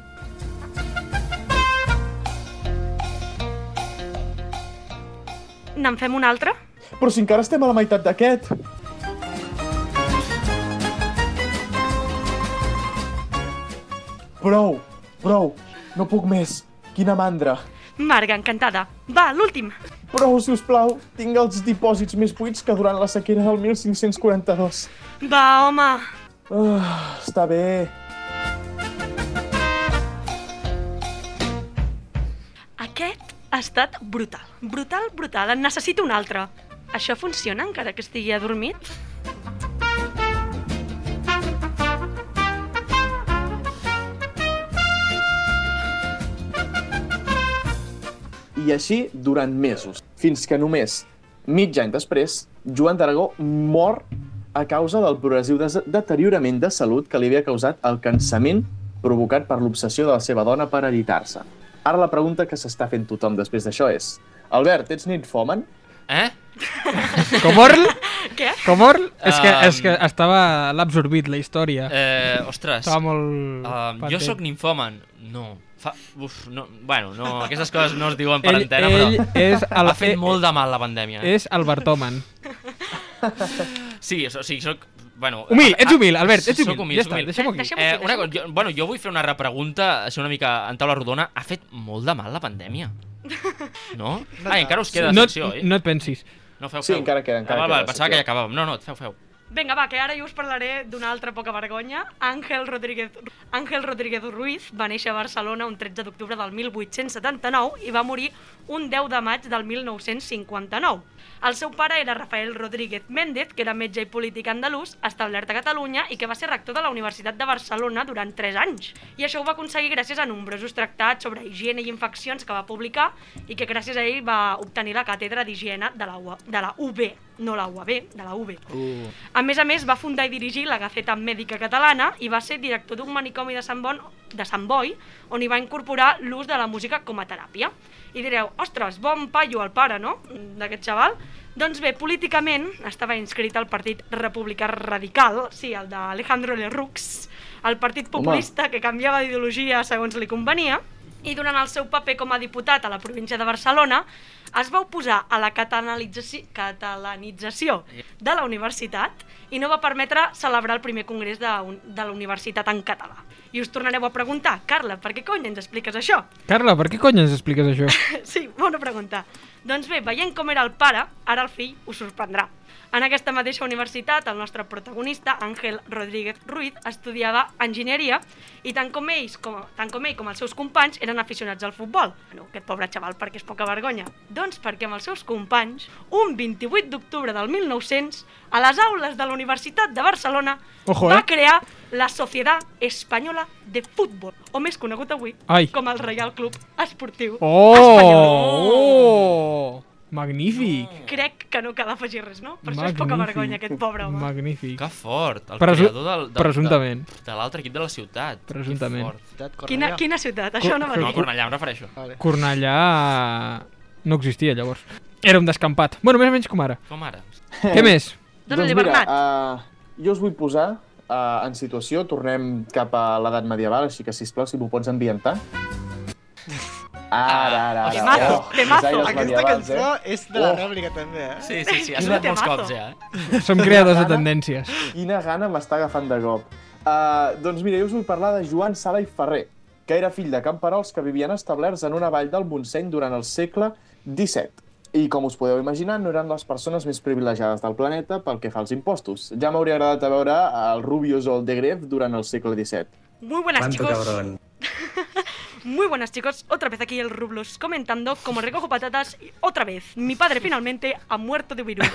N'en fem un altre?
Però si encara estem a la meitat d'aquest. Prou, prou, no puc més. Quina mandra.
Marga, encantada. Va, l'últim.
Prou, si us plau, tinc els dipòsits més buits que durant la sequera del 1542.
Va, home.
Ah, està bé.
Aquest ha estat brutal. Brutal, brutal. En necessito un altre. Això funciona encara que estigui adormit?
I així durant mesos, fins que només mig any després, Joan d'Aragó mor a causa del progressiu des- deteriorament de salut que li havia causat el cansament provocat per l'obsessió de la seva dona per editar-se. Ara la pregunta que s'està fent tothom després d'això és Albert, ets nitfoman?
Eh?
Com Orl?
Què?
Com Orl? És, que,
Um,
és que estava... L'ha absorbit, la història.
Eh, ostres.
Estava molt...
Um, jo
pendent.
sóc ninfoman. No. Fa... Uf, no. Bueno, no, aquestes coses no es diuen per
Ell-
antena,
ell
però...
és el-
ha fet
eh,
molt de mal la pandèmia.
És Albertoman.
Sí, o sigui, soc... Bueno,
Humil,
a-
ets
a-
humil, Albert, ets
soc
humil, ja
soc
està, deixem-ho aquí. Deixem-ho
Eh,
aquí,
una cosa, jo, bueno, jo vull fer una repregunta, així una mica en taula rodona. Ha fet molt de mal la (laughs) pandèmia, no? Ah, encara us queda
no,
secció, eh?
No et pensis.
No, feu, feu.
Sí, encara queda, encara
ah, val, val,
queda
pensava
secció.
que ja acabàvem. No, no, feu, feu.
Vinga, va, que ara jo us parlaré d'una altra poca vergonya. Àngel Rodríguez, Àngel Rodríguez Ruiz va néixer a Barcelona un 13 d'octubre del 1879 i va morir un 10 de maig del 1959. El seu pare era Rafael Rodríguez Méndez, que era metge i polític andalús, establert a Catalunya i que va ser rector de la Universitat de Barcelona durant 3 anys. I això ho va aconseguir gràcies a nombrosos tractats sobre higiene i infeccions que va publicar i que gràcies a ell va obtenir la càtedra d'higiene de la, UA de la UB, no la UAB, de la UB.
Uh.
A més a més, va fundar i dirigir la Gaceta Mèdica Catalana i va ser director d'un manicomi de Sant, bon, de Sant Boi, on hi va incorporar l'ús de la música com a teràpia. I direu, ostres, bon paio el pare, no?, d'aquest xaval. Doncs bé, políticament estava inscrit al Partit Republicà Radical, sí, el d'Alejandro Lerroux, el Partit
Home.
Populista que canviava d'ideologia segons li convenia, i durant el seu paper com a diputat a la província de Barcelona es va oposar a la catalanitzaci- catalanització de la universitat i no va permetre celebrar el primer congrés de, un- de la universitat en català. I us tornareu a preguntar, Carla, per què cony ens expliques això?
Carla, per què cony ens expliques això?
(laughs)
(laughs) sí, bona pregunta. Doncs bé, veient com era el pare, ara el fill us sorprendrà. En aquesta mateixa universitat, el nostre protagonista, Àngel Rodríguez Ruiz, estudiava enginyeria i tant com, ells, com, tant com ell com els seus companys eren aficionats al futbol. Bueno, aquest pobre xaval, perquè és poca vergonya. Doncs perquè amb els seus companys, un 28 d'octubre del 1900, a les aules de la Universitat de Barcelona,
Ojo,
va
eh?
crear la Societat Espanyola de Futbol, o més conegut avui
Ai.
com el Reial Club Esportiu
Oh! oh! Magnífic.
crec que no cal afegir res, no? Per això és poca
Magnífic.
vergonya aquest pobre home.
Magnífic.
Que fort, el
Presu-
creador del, del,
presumptament.
de, de l'altre equip de la ciutat. Que
Presumptament.
fort.
Quina, quina ciutat? Això no va
No, a
dir.
Cornellà em refereixo. Vale.
Cornellà no existia llavors. Era un descampat. Bueno, més o menys com ara.
Com ara. (laughs)
Què més? doncs
Dóna-li, Bernat.
eh,
Uh, Doncs jo us vull posar uh, en situació, tornem cap a l'edat medieval, així que, sisplau, si m'ho pots ambientar.
Ah,
Ara, ara, ara.
Temazo,
Oh,
temazo.
designes
Aquesta
medievals,
cançó
eh?
és de la
Oh.
rèplica, també, eh?
Sí, sí, sí, ha
Quin
sonat molts
temazo.
cops ja.
Som creadors de tendències.
Quina gana m'està agafant de cop. Uh, doncs mira, jo us vull parlar de Joan Sala i Ferrer, que era fill de camperols que vivien establerts en una vall del Montseny durant el segle XVII. I com us podeu imaginar, no eren les persones més privilegiades del planeta pel que fa als impostos. Ja m'hauria agradat a veure el Rubius o el De Gref durant el segle XVII.
Muy buenas, chicos. Muy buenas, chicos. Otra vez aquí el Rublos comentando como recojo patatas. y otra vez, mi padre finalmente ha muerto
(laughs)
de viruela.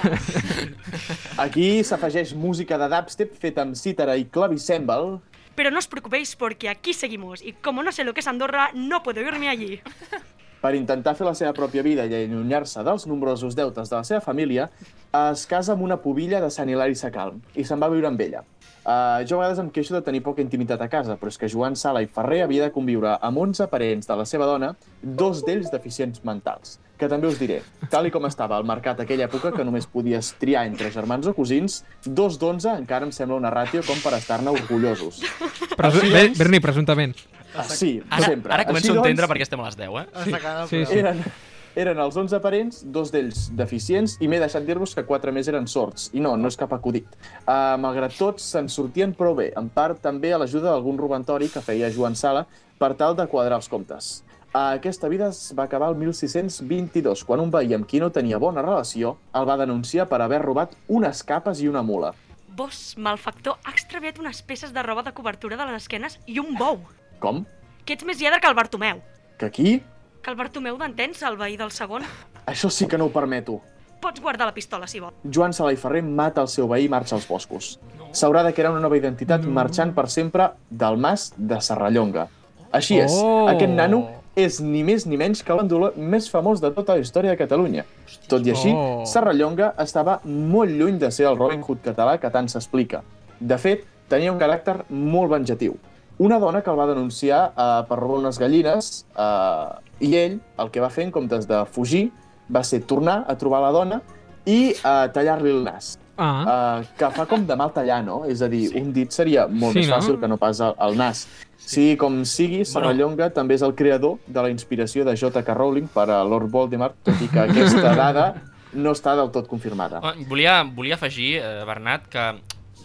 Aquí s'afegeix música de dubstep feta amb cítara i clavicèmbal.
Pero no os preocupéis porque aquí seguimos. Y como no sé lo que es Andorra, no puedo irme allí.
Per intentar fer la seva pròpia vida i allunyar-se dels nombrosos deutes de la seva família, es casa amb una pobilla de Sant Hilari Sacalm i se'n va viure amb ella. Uh, jo a vegades em queixo de tenir poca intimitat a casa, però és que Joan Sala i Ferrer havia de conviure amb 11 parents de la seva dona, dos d'ells deficients mentals. Que també us diré, tal i com estava el mercat aquella època, que només podies triar entre germans o cosins, dos d'onze encara em sembla una ràtio com per estar-ne orgullosos.
Presu
Així
Ber-
doncs-
Berni, presumptament.
Ah, sí,
Ara-
sempre.
ara començo
Així
a entendre
doncs-
per què estem a les 10, eh? Està acabant el
Sí, sí.
programa.
Eren, eren els 11 parents, dos d'ells deficients, i m'he deixat dir-vos que quatre més eren sords. I no, no és cap acudit. Uh, malgrat tot, se'n sortien prou bé, en part també a l'ajuda d'algun robatori que feia Joan Sala per tal de quadrar els comptes. Uh, aquesta vida es va acabar el 1622, quan un veí amb qui no tenia bona relació el va denunciar per haver robat unes capes i una mula.
Vos, malfactor, ha extraviat unes peces de roba de cobertura de les esquenes i un bou.
Com?
Que ets més lladre que el Bartomeu.
Que aquí?
Que el Bartomeu d'entens, el veí del segon.
Això sí que no ho permeto.
Pots guardar la pistola, si vols.
Joan Sala i Ferrer mata el seu veí i marxa als boscos. S'haurà de crear una nova identitat marxant per sempre del mas de Serrallonga. Així és,
Oh.
aquest nano és ni més ni menys que l'endolor més famós de tota la història de Catalunya. Tot i així,
Oh.
Serrallonga estava molt lluny de ser el Robin Hood català que tant s'explica. De fet, tenia un caràcter molt venjatiu. Una dona que el va denunciar eh, per robar unes gallines eh, i ell el que va fer en comptes de fugir va ser tornar a trobar la dona i eh, tallar-li el nas.
Ah.
Eh, que fa com de mal tallar, no? És a dir, sí. un dit seria molt
Sí,
sí, més
no?
fàcil que no pas el, el nas. Sí. Sigui com sigui, Serrallonga també és el creador de la inspiració de J.K. Rowling per a Lord Voldemort, tot i que
(laughs)
aquesta dada no està del tot confirmada.
Ah.
Oh, Volia, volia afegir, eh, Bernat, que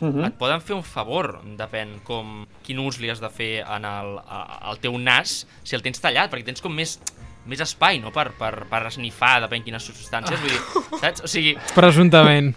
Mhm.
et poden fer un favor, depèn com quin ús li has de fer en el, a- al teu nas, si el tens tallat, perquè tens com més més espai, no?, per, per, per esnifar, depèn quines substàncies, vull dir, saps? O sigui,
Presumptament.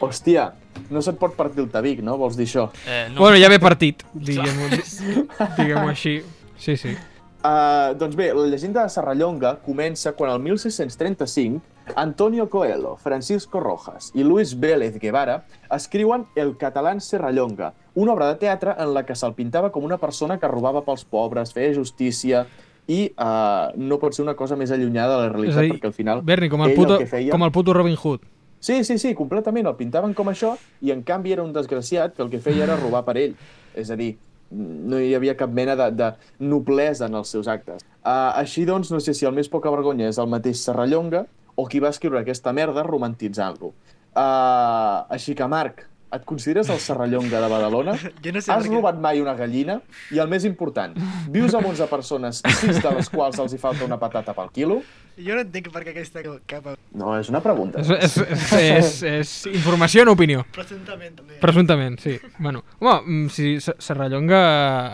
Hòstia, no se't pot partir el tabic, no? Vols dir això?
Eh,
No. Bueno, ja ve partit, diguem-ho (laughs) diguem així. Sí, sí.
Uh, doncs bé, la llegenda de Serrallonga comença quan el 1635 Antonio Coelho, Francisco Rojas i Luis Vélez Guevara escriuen El catalán Serrallonga, una obra de teatre en la que se'l pintava com una persona que robava pels pobres, feia justícia i uh, no pot ser una cosa més allunyada de
És
la
a
realitat
dir,
perquè al final
Berni, com el,
ell
puto,
el que feia...
com el puto Robin Hood.
Sí, sí, sí, completament. El pintaven com això i en canvi era un desgraciat que el que feia era robar per ell. És a dir, no hi havia cap mena de, de noblesa en els seus actes. Uh, així doncs, no sé si el més poca vergonya és el mateix Serrallonga o qui va escriure aquesta merda romantitzant-lo. Uh, així que, Marc, et consideres el Serrallonga de Badalona?
(laughs) Jo no sé
Has
per què.
robat mai una gallina? I el més important, vius amb 11 persones, 6 de les quals els hi falta una patata pel quilo?
Jo no entenc per què aquesta capa...
No, és una pregunta.
És, és, és, és, és informació no opinió.
Presumptament, també.
Presumptament, sí. Bueno, home, mm, si Se- Serrallonga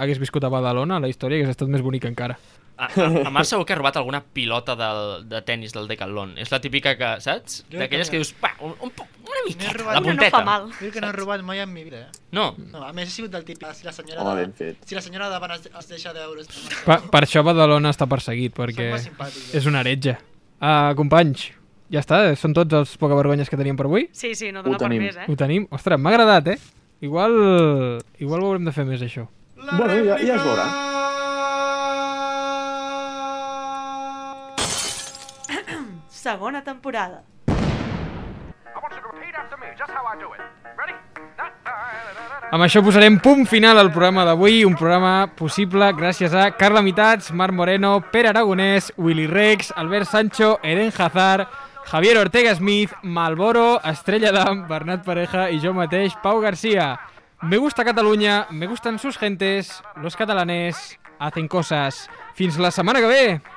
hagués viscut a Badalona, la història hagués estat més bonica encara.
A, a, a Marc segur que ha robat alguna pilota del, de tennis del Decathlon. És la típica que, saps?
Jo
D'aquelles que
també.
dius, pa, un, un, po- una miqueta,
robat
la
una, no
punteta.
fa mal. Diu que no he robat mai en mi vida. ¿eh?
No.
No, a més he sigut del tipus, Ah, si la senyora...
Home,
de-
ben fet.
Si la senyora de davant es, es deixa d'euros...
Per, per això Badalona està perseguit, perquè
Són molt simpàtics,
és una heretge. Uh, companys, ja està, són tots els poca vergonyes que teníem per avui?
Sí, sí, no dona per més, eh?
Ho tenim? Ostres, m'ha agradat, eh? Igual, igual ho haurem de fer més, això.
Bueno, ja, ja es veurà.
Segona temporada.
Amb això posarem punt final al programa d'avui, un programa possible gràcies a Carla Mitats, Marc Moreno, Pere Aragonès, Willy Rex, Albert Sancho, Eren Hazard, Javier Ortega Smith, Malboro, Estrella Damm, Bernat Pareja i jo mateix, Pau Garcia. Me gusta Catalunya, me gustan sus gentes, los catalanes hacen cosas. Fins la setmana que ve!